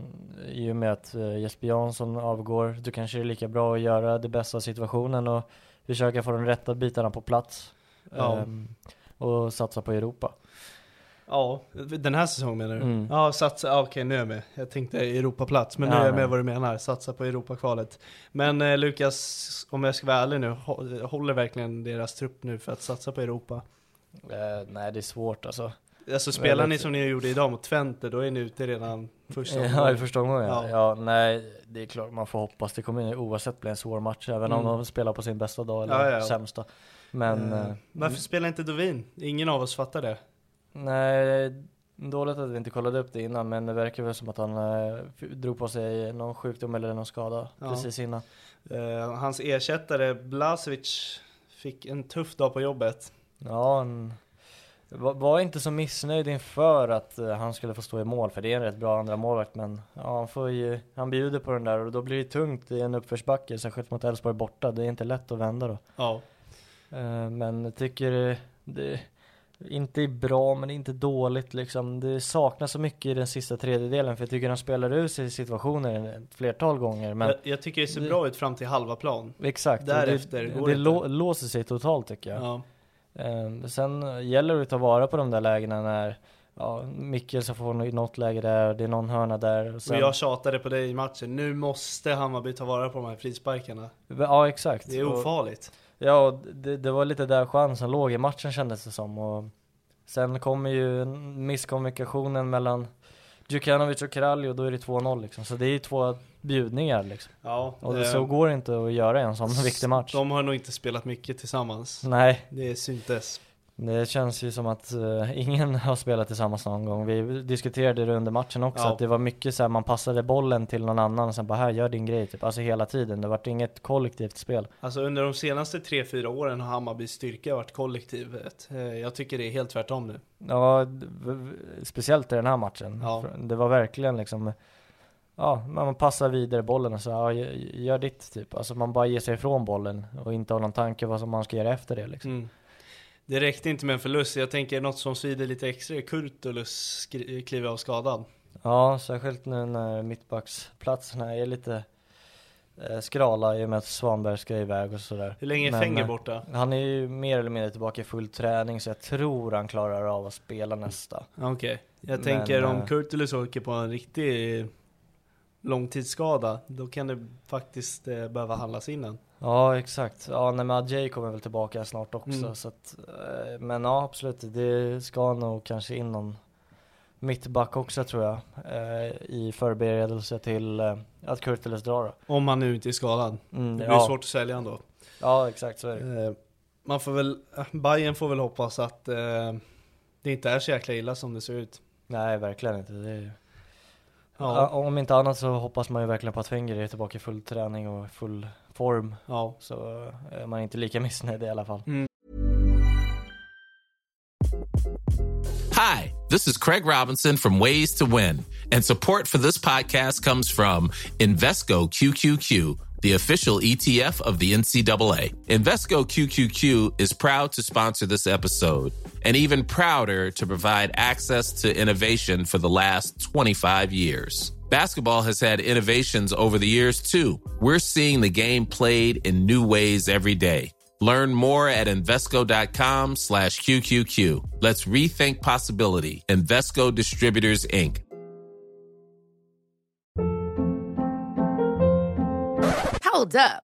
C: I och med att eh, Jesper Jansson avgår, då kanske det är lika bra att göra det bästa av situationen och försöka få de rätta bitarna på plats.
B: Ja.
C: Ehm, och satsa på Europa.
B: Ja, den här säsongen menar du?
C: Mm.
B: Ja, satsa, ja, okej nu är jag med. Jag tänkte Europaplats, men nu
C: Ja,
B: är jag
C: nej.
B: med vad du menar. Satsa på Europakvalet. Men eh, Lukas, om jag ska vara ärlig nu, hå- håller verkligen deras trupp nu för att satsa på Europa?
C: Eh, nej, det är svårt alltså.
B: Alltså spelar
C: Väldigt-
B: ni som ni gjorde idag mot Twente, då är ni ute redan första
C: Ja, i
B: omgången.
C: första omgången.
B: Ja.
C: Ja. ja, nej, det är klart man får hoppas. Det kommer ju oavsett bli en svår match, även om
B: Mm.
C: de spelar på sin bästa dag eller
B: Ja, ja, ja.
C: sämsta. Men
B: Eh,
C: eh,
B: varför spelar inte Dovin? Ingen av oss fattar det.
C: nej, dåligt att vi inte kollade upp det innan, men det verkar väl som att han eh, f- drog på sig någon sjukdom eller någon skada
B: Ja.
C: precis innan.
B: Eh, hans ersättare Blasevic fick en tuff dag på jobbet.
C: Ja, han var, var inte så missnöjd inför att eh, han skulle få stå i mål, för det är en rätt bra andra målvakt men ja, han, får ju, han bjuder på den där och då blir det tungt i en uppförsbacke, särskilt mot Elfsborg borta. Det är inte lätt att vända då.
B: Ja.
C: Eh, Men jag tycker det, det inte är bra men det är inte dåligt liksom. Det saknas så mycket i den sista tredjedelen för jag tycker de spelar ur sig situationer ett flertal gånger. Men
B: jag, jag tycker det ser bra ut fram till halva plan.
C: exakt, och
B: Därefter
C: det,
B: går
C: det
B: det
C: lå- låser sig totalt tycker jag.
B: Ja.
C: Eh, Sen gäller det att ta vara på de där lägena när ja, Mikkelsen får nå- något läge där, det är någon hörna där. Och sen,
B: Och jag tjatade på dig i matchen, nu måste Hammarby ta vara på de här frisparkarna.
C: ja exakt.
B: Det är
C: Och-
B: ofarligt.
C: Ja, och det, det var lite där chansen låg i matchen kändes det som. Och sen kommer ju misskommunikationen mellan Djukanovic och Kralj och då är det 2-0 liksom. Så det är ju två bjudningar liksom.
B: Ja,
C: Och
B: eh,
C: så går det inte att göra i en sån viktig match.
B: De har nog inte spelat mycket tillsammans.
C: Nej,
B: Det syntes.
C: det känns ju som att eh, ingen har spelat tillsammans någon gång. Vi diskuterade det under matchen också,
B: Ja.
C: att det var mycket så här, man passade bollen till någon annan och sen bara här, gör din grej typ. Alltså hela tiden, det vart inget kollektivt spel.
B: Alltså under de senaste 3-4 åren har Hammarbys styrka varit kollektivet. Eh, Jag tycker det är helt tvärtom nu.
C: Ja, d- v- v- speciellt i den här matchen.
B: Ja.
C: För Det var verkligen liksom, ja, man man passar vidare bollen och så, ja, gö- gör ditt typ. Alltså man bara ger sig ifrån bollen och inte har någon tanke vad som man ska göra efter det liksom.
B: Mm. Det räckte inte med en förlust, jag tänker något som svider lite extra är Kurtulus skri- kliver av skadad.
C: Ja, särskilt nu när mittbacksplatserna är lite eh, skrala i och med att Svanberg ska iväg och sådär.
B: Hur länge är
C: Men,
B: Fenger
C: eh,
B: borta?
C: Han är ju mer eller mindre tillbaka i full träning så jag tror han klarar av att spela nästa.
B: Okej. Jag
C: men,
B: tänker om
C: eh,
B: Kurtulus åker på en riktig långtidsskada, då kan det faktiskt eh, behöva handlas in en.
C: Ja exakt, ja nej, men Adjei kommer väl tillbaka snart också
B: Mm.
C: så att, eh, Men ja absolut, det ska nog kanske in någon mittback också tror jag eh, I förberedelse till eh, att Kurtulus drar då.
B: Om han nu inte är skadad. Det
C: Mm,
B: blir
C: ja.
B: svårt att sälja ändå.
C: ja exakt så är det
B: Eh, Man får väl, eh, Bayern får väl hoppas att eh, det inte är så jäkla illa som det ser ut.
C: Nej verkligen inte det är ju...
B: Ja.
C: ja. Om inte annat så hoppas man ju verkligen på att Wenger är tillbaka i full träning och full form
B: Ja.
C: Så eh, är man inte lika missnöjd i alla fall
E: Hi, this is Craig Robinson from Ways to Win, and support for this podcast comes from Invesco QQQ, the official ETF of the NCAA. Invesco QQQ is proud to sponsor this episode and even prouder to provide access to innovation for the last 25 years. Basketball has had innovations over the years, too. We're seeing the game played in new ways every day. Learn more at Invesco.com slash QQQ. Let's rethink possibility. Invesco Distributors, Inc.
A: Hold up.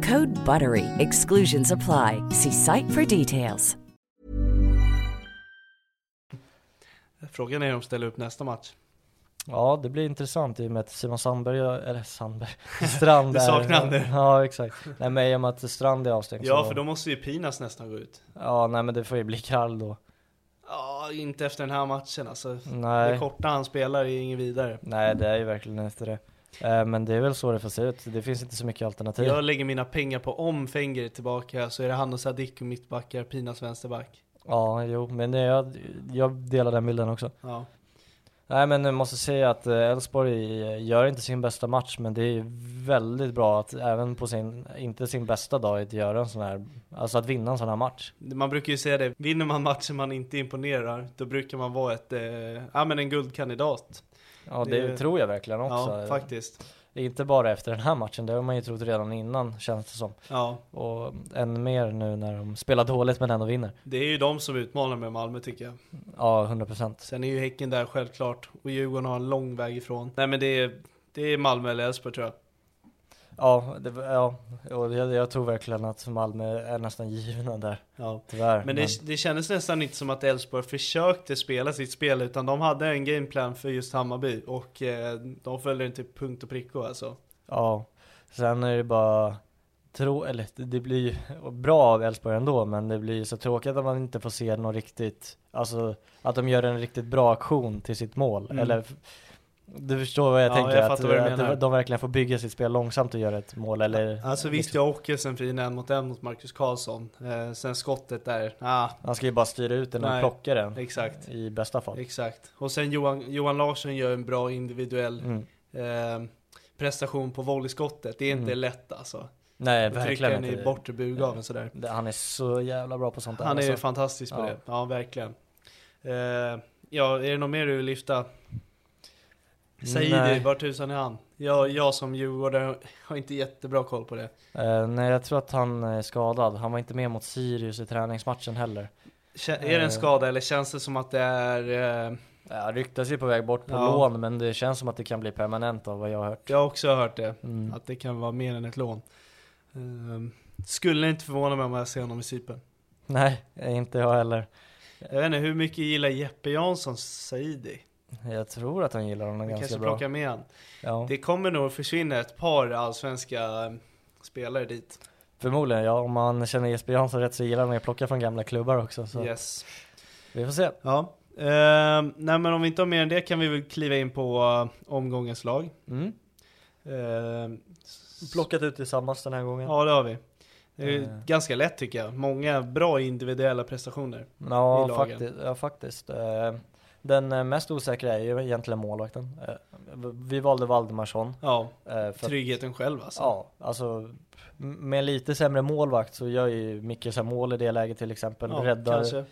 F: Code BUTTERY. Exclusions apply. See site for details.
B: Frågan är om de ställer upp nästa match.
C: Ja, det blir intressant i och med att Simon Sandberg, eller Sandberg, Strand
B: Du
C: är-
B: saknar han nu.
C: Ja, exakt. Nej men i och med att Strand är avstängd
B: Ja,
C: så,
B: för då måste ju Pinas nästan gå ut.
C: Ja, nej men det får ju bli Krall då.
B: Ja, inte efter den här matchen alltså.
C: Nej.
B: Det korta han spelar är inget vidare.
C: Nej, det är ju verkligen efter det. Eh, Men det är väl så det får se ut. Det finns inte så mycket alternativ.
B: Jag lägger mina pengar på om Fenger är tillbaka så är det han och Sadiku mittbackar, Pinas vänsterback.
C: Ja, jo, men det- jag, jag delar den bilden också.
B: Ja.
C: Nej, men jag måste säga att eh, Elfsborg eh, gör inte sin bästa match, men det är ju väldigt bra att även på sin, inte sin bästa dag, att göra en sån här, alltså att vinna en sån här match.
B: Man brukar ju säga det, vinner man matcher man inte imponerar, då brukar man vara ett, eh, ja men en guldkandidat.
C: Ja, det,
B: Det-
C: tror jag verkligen också.
B: Ja, faktiskt.
C: Inte bara efter den här matchen, det har man ju trott redan innan, känns det som.
B: Ja,
C: Och än mer nu när de spelar dåligt men ändå vinner.
B: det är ju de som utmanar med Malmö tycker jag.
C: Ja, 100%.
B: Sen är ju Häcken där självklart, och Djurgården har en lång väg ifrån. Nej men det är, det är Malmö eller Elfsborg tror jag.
C: Ja, det, ja. Och jag, jag tror verkligen att Malmö är nästan givna där,
B: Ja.
C: tyvärr.
B: Men det, det kändes nästan inte som att Elfsborg försökte spela sitt spel utan de hade en gameplan för just Hammarby och eh, de följde den till punkt och prick och alltså.
C: Ja, sen är det bara tro, eller det blir ju bra av Elfsborg ändå, men det blir ju så tråkigt att man inte får se någon riktigt, alltså att de gör en riktigt bra aktion till sitt mål.
B: Mm.
C: Eller, du förstår vad jag
B: Ja,
C: tänker,
B: jag
C: att,
B: fattar vad du
C: att
B: menar.
C: de verkligen får bygga sitt spel långsamt och göra ett mål. Eller,
B: Alltså visst, jag åker sen fin en mot en mot Marcus Karlsson. Eh, sen skottet där, ah,
C: Han ska ju bara styra ut den och
B: Nej,
C: plocka den
B: exakt.
C: i bästa fall.
B: Exakt. Och sen Johan, Johan Larsson gör en bra individuell
C: Mm.
B: eh, prestation på volleyskottet. Det är inte
C: Mm.
B: lätt alltså.
C: Nej,
B: Att trycka
C: verkligen
B: den i
C: inte.
B: bortre burgaveln sådär.
C: Det- Han är så jävla bra på sånt där.
B: Han är ju
C: alltså.
B: fantastisk på
C: Ja.
B: det. Ja, verkligen. Eh, ja, är det något mer du vill lyfta? Saidi,
C: Nej.
B: var tusan är han? Jag, jag som djurgårdare har inte jättebra koll på det.
C: Eh, nej, jag tror att han är skadad. Han var inte med mot Sirius i träningsmatchen heller.
B: Kä- Är det
C: Eh.
B: en skada eller känns det som att det är... Eh,
C: Ja, ryktas ju på väg bort på
B: Ja.
C: lån, men det känns som att det kan bli permanent av vad jag har hört.
B: jag har också hört det,
C: Mm.
B: att det kan vara mer än ett lån. Eh, skulle inte förvåna mig om jag ser honom i Cypern.
C: Nej, inte jag heller.
B: Jag vet inte, hur mycket gillar Jeppe Jansson Saidi?
C: Jag tror att han gillar honom
B: Vi
C: ganska
B: kanske
C: bra.
B: plockar med han.
C: Ja,
B: Det kommer nog försvinna ett par allsvenska eh, spelare dit.
C: Förmodligen, ja. Om man känner Jesper Jansson rätt så gillar han att plocka från gamla klubbar också. Så
B: Yes.
C: vi får se.
B: Ja. Ehm, nej men om vi inte har mer än det kan vi väl kliva in på eh, omgångens lag.
C: Mm.
B: Ehm,
C: Plockat ut tillsammans den här gången. Ja,
B: ja det har vi. Det är ju
C: Eh.
B: ganska lätt tycker jag. Många bra individuella prestationer. i lagen.
C: faktiskt. Ja, faktiskt. Eh, Den eh, mest osäkra är ju egentligen målvakten. Eh, Vi valde Valdemarsson.
B: Ja,
C: eh, för att-
B: tryggheten själv alltså.
C: Ja, alltså m- med lite sämre målvakt så gör ju Mikkelsen mål i det läget till exempel.
B: Ja,
C: Räddar,
B: kanske.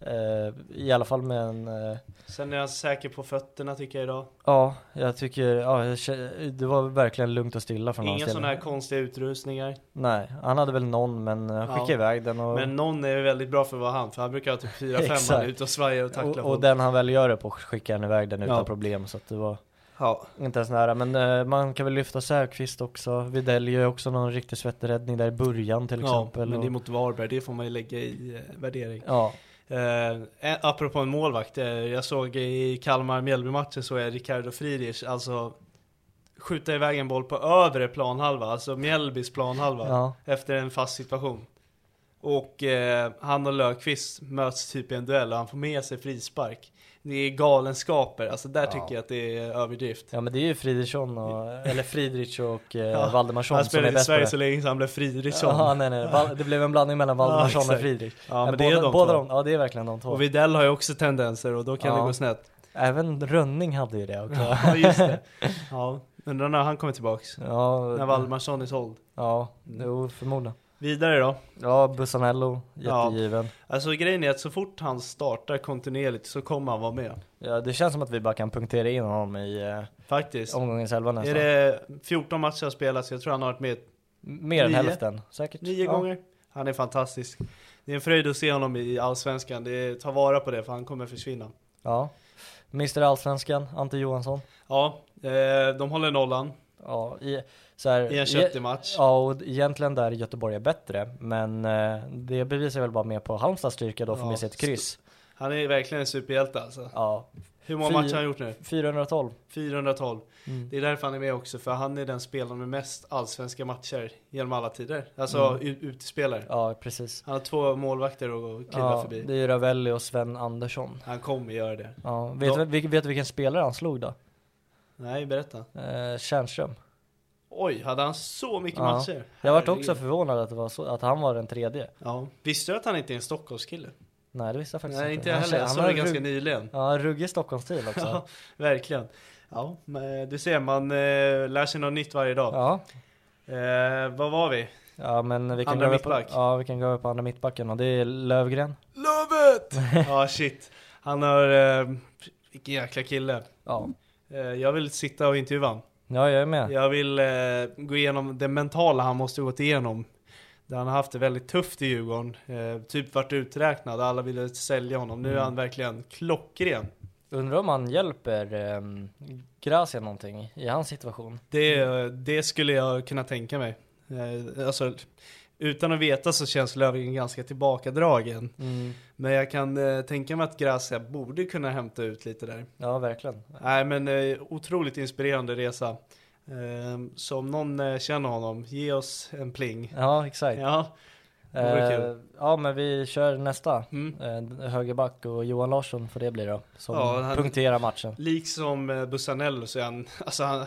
C: eh, i alla fall med en, eh,
B: Sen är jag säker på fötterna tycker jag idag.
C: ja, jag tycker, ja, jag kä- det var verkligen lugnt och stilla från
B: Inga
C: hans
B: sådana här konstiga utrustningar.
C: Nej, han hade väl någon men han skickade
B: Ja.
C: iväg den och,
B: Men någon är väldigt bra för att vara han, för han brukar ha typ 4-5
C: Exakt.
B: man ute och svajar och
C: och,
B: tacklar
C: och
B: folk.
C: den han väl gör det på skickar han iväg den utan
B: Ja.
C: problem så att det var
B: Ja.
C: inte ens nära. Men eh, man kan väl lyfta Säfqvist också, Widell gör ju också någon riktig svetträddning där i början till
B: Ja,
C: exempel.
B: men det är
C: och,
B: mot Varberg, det får man ju lägga i eh, värdering.
C: ja,
B: Eh, eh, apropå en målvakt, eh, jag såg i Kalmar-Mjällby-matchen så är Ricardo Friedrich, alltså skjuta iväg en boll på övre planhalva, alltså Mjällbys planhalva,
C: Ja.
B: efter en fast situation. Och eh, han och Löfqvist möts typ i en duell och han får med sig frispark. Det är galenskaper, alltså där tycker jag att det är överdrift.
C: Ja men det är ju Friedrichsson och, eller Friedrich och eh,
B: Ja,
C: Valdemarsson
B: Han
C: som är
B: spelade i
C: bäst på
B: Sverige så
C: det.
B: länge så han blev Friedrichsson.
C: Ja, nej, nej. Val- Det blev en blandning mellan Valdemarsson och
B: exakt.
C: Friedrich.
B: Ja, men det
C: Äh, båda,
B: är de
C: båda
B: två.
C: de, Ja det är verkligen de två.
B: Och Widell har ju också tendenser och då kan
C: Ja.
B: det gå snett.
C: Även Rönning hade ju det också.
B: Ja, just det. Ja, undrar när han kommer tillbaks. När
C: Ja,
B: Valdemarsson är såld.
C: ja jo, förmodligen.
B: Vidare då.
C: Ja, Bussanello,
B: Ja.
C: jättegiven.
B: Alltså grejen är att så fort han startar kontinuerligt så kommer han vara med.
C: Ja, det känns som att vi bara kan punktera in honom i eh,
B: Faktiskt.
C: omgångens elva
B: Är
C: nästan.
B: det
C: alltså.
B: 14 matcher jag spelat så jag tror han har varit med
C: Mer än
B: nio?
C: hälften, säkert.
B: nio
C: ja.
B: gånger. Han är fantastisk. Det är en fröjd att se honom i Allsvenskan. Det är, ta vara på det för han kommer försvinna.
C: Ja. Mr Allsvenskan, Ante Johansson.
B: Ja, eh, de håller nollan
C: Ja, i, så här,
B: i en
C: i-
B: köttig match.
C: Ja, och egentligen där Göteborg är bättre, men eh, det bevisar väl bara mer på Halmstads styrka då för
B: Ja,
C: med sitt kryss.
B: Han är verkligen en superhjälte alltså.
C: Ja,
B: Hur många
C: Fy-
B: matcher har han gjort nu?
C: 412.
B: 412.
C: Mm.
B: Det är därför han är med också, för han är den spelaren med mest allsvenska matcher genom alla tider. Alltså
C: Mm.
B: ut- utespelare.
C: Ja, precis.
B: Han har två målvakter att killa
C: Ja,
B: förbi.
C: det är ju Ravelli och Sven Andersson.
B: Han kommer göra det.
C: Ja, vet,
B: Ja.
C: du- vil- vet du vilken spelare han slog då?
B: Nej, berätta.
C: Eh, Tjärnström.
B: Oj, hade han så mycket
C: Ja.
B: matcher?
C: Jag vart
B: Herregud.
C: också förvånad att, det var så, att han var den tredje.
B: Ja. Visste du att han inte är en Stockholmskille?
C: Nej, det visste jag faktiskt
B: Nej, inte
C: inte.
B: jag heller.
C: Han,
B: Jag
C: han
B: såg
C: har
B: det ganska
C: rugg-
B: nyligen.
C: Ja, ruggig Stockholmsstil också.
B: Ja, verkligen. Ja, men du ser, man eh, lär sig något nytt varje dag.
C: ja.
B: Eh, vad var vi?
C: ja, men vi kan
B: Andra
C: gå över på,
B: mittback.
C: ja, vi kan gå över på andra mittbacken och det är Lövgren.
B: Lövet! ja, shit. Han har... Eh, vilken jäkla kille.
C: Ja,
B: Eh, jag vill sitta och intervjua honom.
C: ja jag är med.
B: Jag vill eh, gå igenom det mentala han måste gått igenom. Där han har haft det väldigt tufft i Djurgården. Eh, typ varit uträknad, alla ville sälja honom. Nu är han verkligen klockren.
C: Undrar om han hjälper um, Gracia någonting i hans situation.
B: Det, det skulle jag kunna tänka mig. Eh, alltså, utan att veta så känns Löfgren ganska tillbakadragen. Men jag kan eh, tänka mig att Gracia borde kunna hämta ut lite där.
C: Ja, verkligen.
B: Nej men eh, otroligt inspirerande resa. Eh, så om någon eh, känner honom, ge oss en pling.
C: Ja, exakt.
B: Ja, det vore
C: eh,
B: kul.
C: ja, men vi kör nästa.
B: Mm.
C: Eh, högerback och Johan Larsson får det bli då. Som
B: Ja, han-
C: punkterar matchen.
B: Liksom eh, Bussanello så är han, alltså han,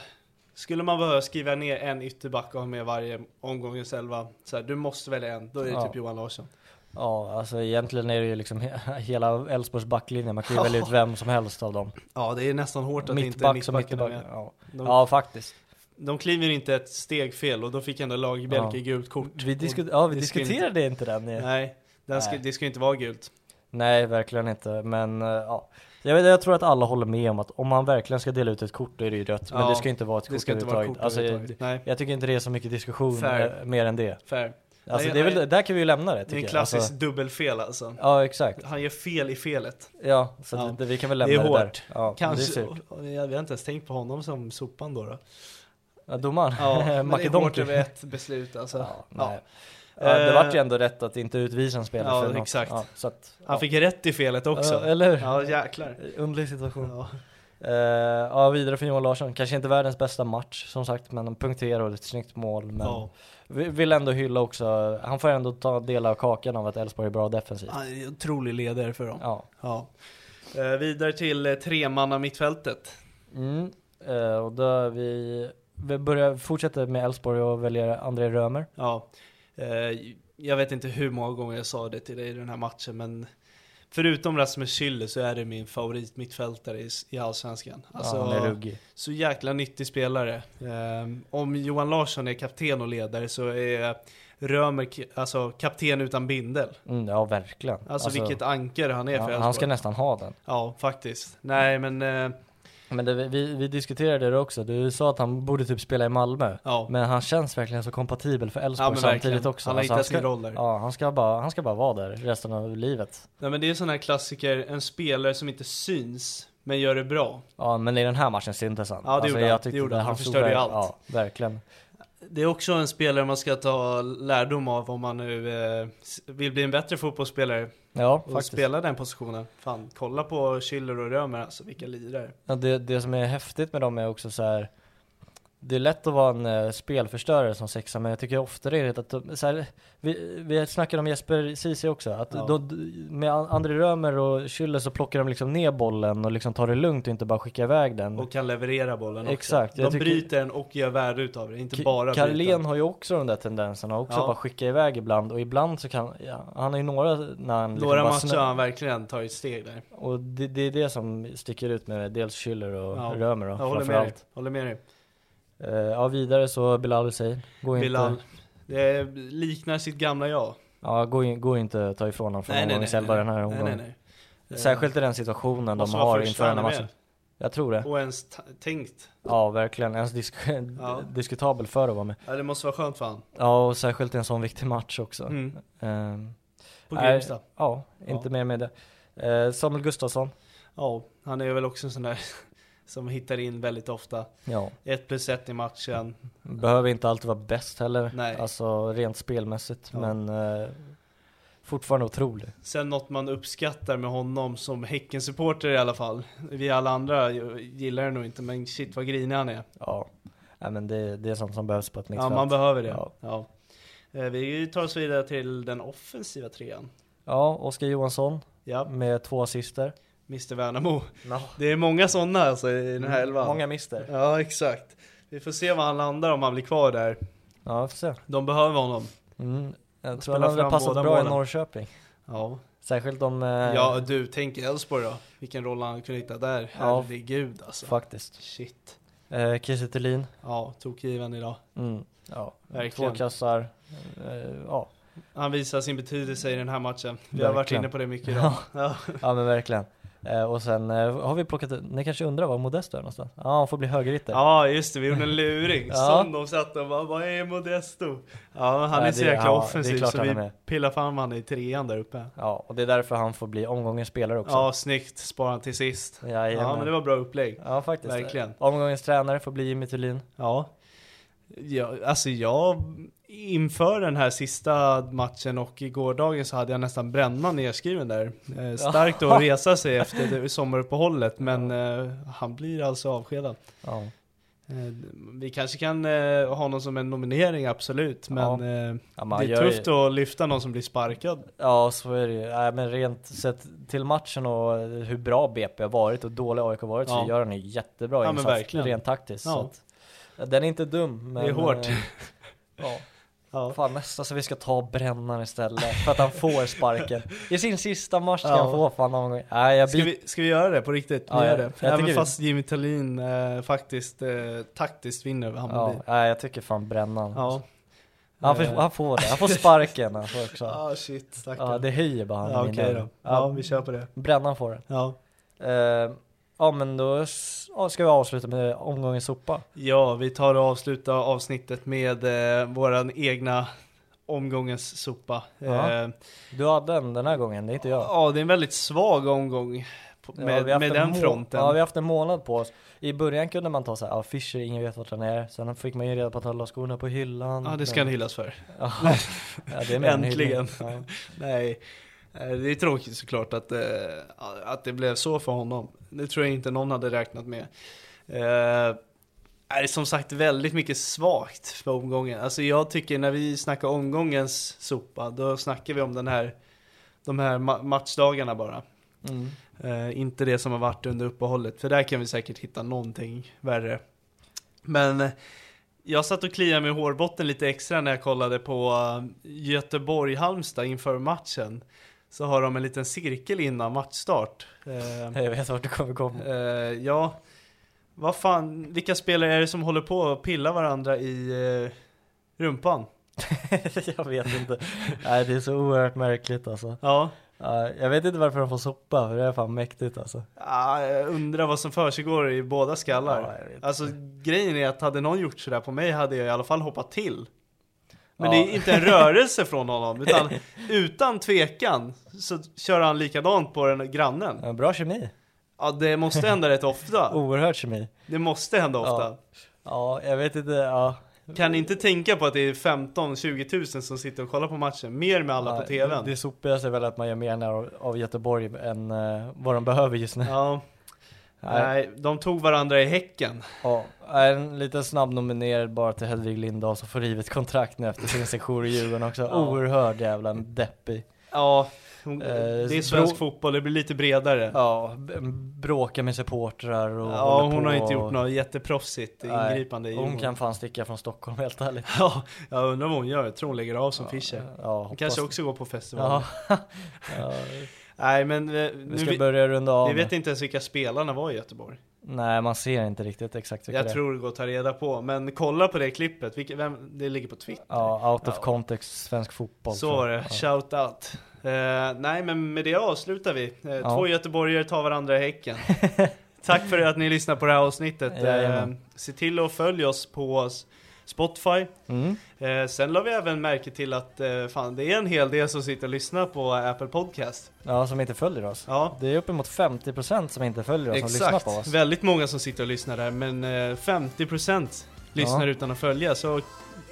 B: skulle man behöva skriva ner en ytterback och ha med varje omgångens elva, så här, du måste välja en, då är det
C: Ja.
B: typ Johan Larsson.
C: Ja, alltså egentligen är det ju liksom he- hela Elfsborgs backlinje. Man kan ju välja ut vem som helst av dem.
B: Ja, det är nästan hårt att
C: Mittback
B: inte
C: som
B: mittbacken är
C: mittback.
B: med.
C: Ja.
B: De,
C: ja, faktiskt.
B: de kliver inte ett steg fel och då fick ändå Lagerbjälke
C: Ja.
B: gult kort.
C: Vi,
B: Och
C: disku- ja, vi
B: det skulle inte-
C: diskuterade inte den. ju.
B: Nej, den ska,
C: Nej.
B: det ska inte vara gult.
C: Nej, verkligen inte. Men eh, ja. Jag, vet, jag tror att alla håller med om att om man verkligen ska dela ut ett kort då är det ju rött. Men
B: Ja,
C: det ska inte vara ett
B: Det
C: kort
B: ska inte vara kort
C: överhuvudtaget. Alltså,
B: överhuvudtaget. Nej,
C: Jag tycker inte det är så mycket diskussion
B: Fair.
C: eh, mer än det.
B: fair.
C: Alltså,
B: Nej,
C: det är
B: nej.
C: väl, där kan vi ju lämna det
B: Det är
C: tycker
B: en
C: jag.
B: klassisk
C: Alltså,
B: dubbelfel alltså.
C: ja exakt.
B: Han gör fel i felet.
C: Ja, så
B: Ja.
C: Det, vi kan väl lämna
B: Det
C: det,
B: är
C: där.
B: hårt.
C: Ja,
B: Kanske,
C: Det är surt.
B: och- jag har inte ens tänkt på honom som sopan då. då.
C: Ja, domaren,
B: Ja, men det är hårt
C: Makedonki.
B: över ett beslut alltså.
C: Ja,
B: Ja.
C: nej. Ja, det
B: Eh,
C: vart ju ändå rätt att inte utvisa en spelare
B: ja,
C: för något.
B: exakt.
C: Ja, så att,
B: Han
C: ja.
B: fick rätt i felet också.
C: Ja, eller hur?
B: Ja, jäklar.
C: Underlig situation.
B: Ja.
C: Eh, ja, vidare för Johan Larsson. Kanske inte världens bästa match som sagt, men han punkterar och ett snyggt mål. Men
B: Ja.
C: vi vill ändå hylla också, han får ändå ta del av kakan av att Elfsborg är bra defensivt.
B: Han är en otrolig ledare för dem.
C: Ja.
B: Ja. Eh, vidare till eh, tremanna mittfältet.
C: Mm. Eh, och då är vi, vi börjar, fortsätter med Elfsborg och väljer André Römer.
B: Ja. Eh, jag vet inte hur många gånger jag sa det till dig i den här matchen, men förutom Rasmus Schüller så är det min favorit mittfältare i, i Allsvenskan. Alltså,
C: ja, han är ruggig.
B: Så jäkla nyttig spelare. Ehm, om Johan Larsson är kapten och ledare så är Römer k- alltså, kapten utan bindel.
C: Mm, ja, verkligen.
B: Alltså, vilket ankare han är
C: ja,
B: för
C: Han ska
B: Elfsborg.
C: nästan ha den.
B: Ja, faktiskt. Nej, men eh,
C: Men det, vi, vi diskuterade det också, du sa att han borde typ spela i Malmö.
B: ja.
C: Men han känns verkligen så kompatibel för
B: Ja,
C: Elfsborg
B: men
C: samtidigt
B: verkligen.
C: också. Alltså,
B: Han har hittat
C: ska,
B: sin roll där.
C: Ja, han ska, bara, han ska bara vara där resten av livet.
B: Nej, men det är sån här klassiker, en spelare som inte syns men gör det bra.
C: Ja, men i den här matchen syntes han. Alltså,
B: Ja, det gjorde han.
C: tyckte
B: Det gjorde
C: att
B: han. Han
C: stod
B: förstörde ju
C: där-
B: allt.
C: Ja, verkligen.
B: Det är också en spelare man ska ta lärdom av om man nu eh, s- vill bli en bättre fotbollsspelare
C: Ja,
B: och
C: faktiskt.
B: spela den positionen. Fan, kolla på Schüller och Römer alltså, vilka lirare.
C: Ja, det, det som är häftigt med dem är också så här. det är lätt att vara en eh, spelförstörare som sexa, men jag tycker ofta det är att de, så här, vi, vi snackade om Jesper Ceesay också, att
B: Ja.
C: då, med An- André Römer och Schüller så plockar de liksom ner bollen och liksom tar det lugnt och inte bara skickar iväg den.
B: Och kan leverera bollen också.
C: Exakt, jag
B: De
C: tycker-
B: bryter den och gör värde utav det, inte
C: K-
B: bara bryta.
C: Carlén har ju också de där tendenserna, också
B: Ja.
C: bara skicka iväg ibland och ibland så kan, ja, han har ju några när han liksom
B: Några
C: bara
B: matcher
C: snö-
B: har han verkligen tagit steg där.
C: Och det, det är det som sticker ut med dels Schüller och Römer då,
B: jag håller med dig.
C: framförallt.
B: Håller med dig.
C: Eh, ja, vidare så Bilal säger, gå
B: Bilal.
C: inte,
B: Det liknar sitt gamla jag.
C: ja, gå, in, gå inte att ta ifrån honom från omgången själva den här
B: nej, nej,
C: omgången.
B: nej. Eh,
C: Särskilt i den situationen de
B: Måste vara
C: har
B: först
C: inför den här
B: framme
C: matchen. Jag tror det.
B: Och ens t- tänkt.
C: Ja, verkligen. Ens disk-
B: Ja.
C: diskutabel för att vara med.
B: Ja, det måste vara skönt för han.
C: Ja, och särskilt i en sån viktig match också.
B: Mm.
C: Ehm,
B: På
C: nej,
B: Grimsta.
C: Ja, inte
B: Ja.
C: mer med det. Eh, Samuel Gustafsson.
B: Ja, han är väl också en sån där som hittar in väldigt ofta.
C: Ja,
B: Ett plus ett i matchen.
C: behöver inte alltid vara bäst heller.
B: Nej.
C: Alltså rent spelmässigt,
B: Ja.
C: men eh, fortfarande otrolig.
B: Sen något man uppskattar med honom som Häcken-supporter i alla fall. Vi alla andra gillar det nog inte, men shit vad grinig han är.
C: Ja, nej, men det, det är sånt som behövs på ett
B: Ja,
C: mittfält.
B: man behöver det.
C: Ja.
B: Ja. Eh, Vi tar oss vidare till den offensiva trean.
C: Ja, Oskar Johansson
B: Ja,
C: med två assister.
B: Mr Värnamo. Det är många sådana alltså i den här elvan.
C: Mm, Många mister.
B: Ja, exakt. Vi får se var han landar om han blir kvar där.
C: Ja, vi får se.
B: De behöver honom.
C: Mm. Jag tror
B: Spela
C: han hade
B: fram
C: passat
B: båda
C: bra i
B: målen.
C: Norrköping.
B: Ja,
C: Särskilt om... Eh,
B: ja du, tänk Elfsborg då. Vilken roll han kunde hitta där.
C: Ja.
B: Herregud alltså.
C: faktiskt.
B: Shit.
C: Eh, Kiese Thelin.
B: Ja, tokgiven idag.
C: Mm. Ja,
B: Verkligen.
C: två kassar. Eh, ja.
B: Han visar sin betydelse i den här matchen. Vi har varit
C: Verkligen.
B: inne på det mycket idag. Ja.
C: ja, men verkligen. Eh, och sen eh, har vi plockat... Ni kanske undrar var Modesto är någonstans? Ja, han får bli högerytter.
B: ja, just det. Vi gjorde en luring.
C: Ja.
B: Som de satt och bara, vad är Modesto? Ja, han
C: Nej,
B: är så
C: det-
B: jäkla
C: ja, det är
B: offensiv
C: klart
B: så
C: han är
B: vi
C: med.
B: pillar fram han i trean där uppe.
C: Ja, och det är därför han får bli omgångens spelare också.
B: Ja, snyggt. Sparar han till sist.
C: Jajamän.
B: Ja, men det var bra upplägg.
C: Ja, faktiskt.
B: Verkligen.
C: Omgångens tränare får bli Jimmy Thulin.
B: Ja. ja, alltså jag inför den här sista matchen och i gårdagen så hade jag nästan brännan nedskriven där. Eh, starkt att resa sig efter det sommaruppehållet men eh, han blir alltså avskedad.
C: Ja.
B: Eh, vi kanske kan eh, ha någon som en nominering absolut men eh,
C: Ja, man
B: det är
C: gör ju-
B: tufft att lyfta någon som blir sparkad.
C: Ja, så är det ju. Nej, men rent sett till matchen och hur bra BP har varit och dålig AIK har varit
B: Ja.
C: så gör han ju jättebra
B: Ja, men
C: insats
B: verkligen.
C: rent taktiskt. Så
B: Ja.
C: att, ja, den är inte dum. Men,
B: Det är hårt.
C: eh, ja.
B: Ja.
C: Fan nästan så vi ska ta brännan istället för att han får sparken. I sin sista match ska
B: Ja.
C: han få fan någon gång. Nej, jag
B: Ska
C: byter.
B: vi, ska vi göra det på riktigt? Vi
C: Ja,
B: gör
C: ja.
B: det.
C: Jag tycker
B: Även
C: vi-
B: fast Jimmy Tallin eh, faktiskt eh, taktiskt vinner över
C: Ja,
B: Hammarby.
C: nej, jag tycker fan brännan.
B: Ja.
C: Han, får, han får det, han får sparken. Han får också.
B: Ah shit, stackarn.
C: Ja, det höjer bara han i
B: Ja,
C: mina
B: okej då.
C: ögon.
B: Ja, vi kör på det.
C: Brännan får det.
B: Ja.
C: Eh, ja men då s- ja, ska vi avsluta med omgången sopa.
B: ja, vi tar och avslutar avsnittet med eh, våran egna omgångens sopa.
C: Ja.
B: Eh,
C: Du hade den den här gången, det är inte jag.
B: ja, det är en väldigt svag omgång på-
C: Ja,
B: med,
C: vi har haft
B: med
C: en
B: den
C: må-
B: fronten.
C: Ja, vi har haft en månad på oss. I början kunde man ta så här, ja Fischer, ingen vet vart han är. Sen fick man ju reda på att han la skorna på hyllan.
B: Ja, det ska han
C: Men-
B: hyllas för.
C: ja, ja, det är mer än
B: Äntligen.
C: hyllning. Ja.
B: Nej, eh, det är tråkigt såklart att, eh, att det blev så för honom. Det tror jag inte någon hade räknat med. Eh, är det som sagt väldigt mycket svagt för omgången. Alltså jag tycker när vi snackar omgångens sopa, då snackar vi om den här, de här ma- matchdagarna bara.
C: Mm.
B: Eh, inte det som har varit under uppehållet, för där kan vi säkert hitta någonting värre. Men eh, jag satt och kliade mig i hårbotten lite extra när jag kollade på eh, Göteborg-Halmstad inför matchen. Så har de en liten cirkel innan matchstart. Eh,
C: Jag vet vart du kommer komma.
B: eh, ja, vad fan, vilka spelare är det som håller på att pilla varandra i eh, rumpan?
C: jag vet inte. Nej, det är så oerhört märkligt alltså.
B: Ja,
C: Ja, jag vet inte varför de får sopa, för det är fan mäktigt alltså.
B: Ah, jag undrar vad som försiggår i båda
C: Ja, jag
B: skallar.
C: vet inte.
B: alltså grejen är att hade någon gjort sådär på mig hade jag i alla fall hoppat till. Men
C: Ja.
B: det är inte en rörelse från honom utan utan tvekan så kör han likadant på den grannen.
C: Ja, Bra kemi.
B: Ja det måste hända rätt ofta.
C: Oerhört kemi.
B: Det måste hända ofta.
C: Ja, jag vet inte. Ja.
B: Kan ni inte tänka på att det är 15-20 tusen som sitter och kollar på matchen? Mer med alla på
C: Nej,
B: tvn.
C: Det, det sopigaste är väl att man gör mer när av, av Göteborg än eh, vad de behöver just nu.
B: Ja. Nej, de tog varandra i häcken.
C: Ja, en liten snabb nominerad bara till Hedvig Lindahl som får rivet kontrakt nu efter sin sejour i Djurgården också. Oerhörd jävla deppig.
B: Ja, det är svensk
C: Eh, Bro-
B: fotboll, det blir lite bredare. Ja,
C: Ja, b- bråkar med supportrar och håller
B: hon
C: på
B: har inte
C: och-
B: gjort något jätteproffsigt
C: Nej,
B: ingripande i
C: Hon
B: Djurgården.
C: kan fan sticka från Stockholm helt ärligt.
B: Ja, jag undrar vad hon gör. Jag tror hon lägger av som Fischer.
C: Ja,
B: Hon
C: hoppas
B: kanske
C: det.
B: också går på festival.
C: Ja.
B: Nej, men eh,
C: Vi
B: nu,
C: ska
B: vi,
C: börja runda av.
B: vi
C: nu.
B: vet inte ens vilka spelarna var i Göteborg.
C: Nej, man ser inte riktigt exakt vilka
B: Jag
C: det är.
B: tror det går att ta reda på, men kolla på det klippet. Vilka, vem, det ligger på Twitter.
C: Ja, out of context svensk fotboll.
B: Så
C: tror
B: var
C: jag.
B: det, shout out. Eh, nej men med det avslutar vi. Eh,
C: Ja.
B: Två göteborgare tar varandra i häcken. Tack för att ni lyssnar på det här avsnittet. Eh,
C: Jajamän.
B: se till att följa oss på s- Spotify.
C: Mm.
B: Eh, sen la vi även märke till att eh, fan, det är en hel del som sitter och lyssnar på Apple Podcast.
C: Ja, som inte följer oss.
B: Ja,
C: Det är uppemot 50% som inte följer oss och lyssnar
B: exakt.
C: på oss.
B: Väldigt många som sitter och lyssnar där, men eh, 50% lyssnar
C: Ja.
B: utan att följa. Så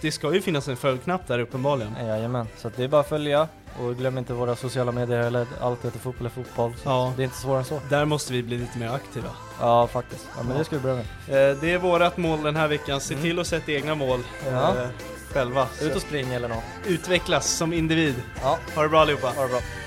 B: det ska ju finnas en följknapp där uppenbarligen.
C: Jajamän, så att det är bara att följa och glöm inte våra sociala medier eller allt heter fotboll är fotboll. Så
B: Ja.
C: Det är inte svårare än så.
B: Där måste vi bli lite mer aktiva.
C: Ja, faktiskt. Ja, men det ska vi börja med.
B: Eh, Det är vårat mål den här veckan. Se till att sätta egna mål
C: Mm. Ja.
B: eh, själva.
C: Ut
B: Så
C: och spring eller något.
B: Utvecklas som individ.
C: Ja,
B: Ha det bra allihopa.
C: ha det bra.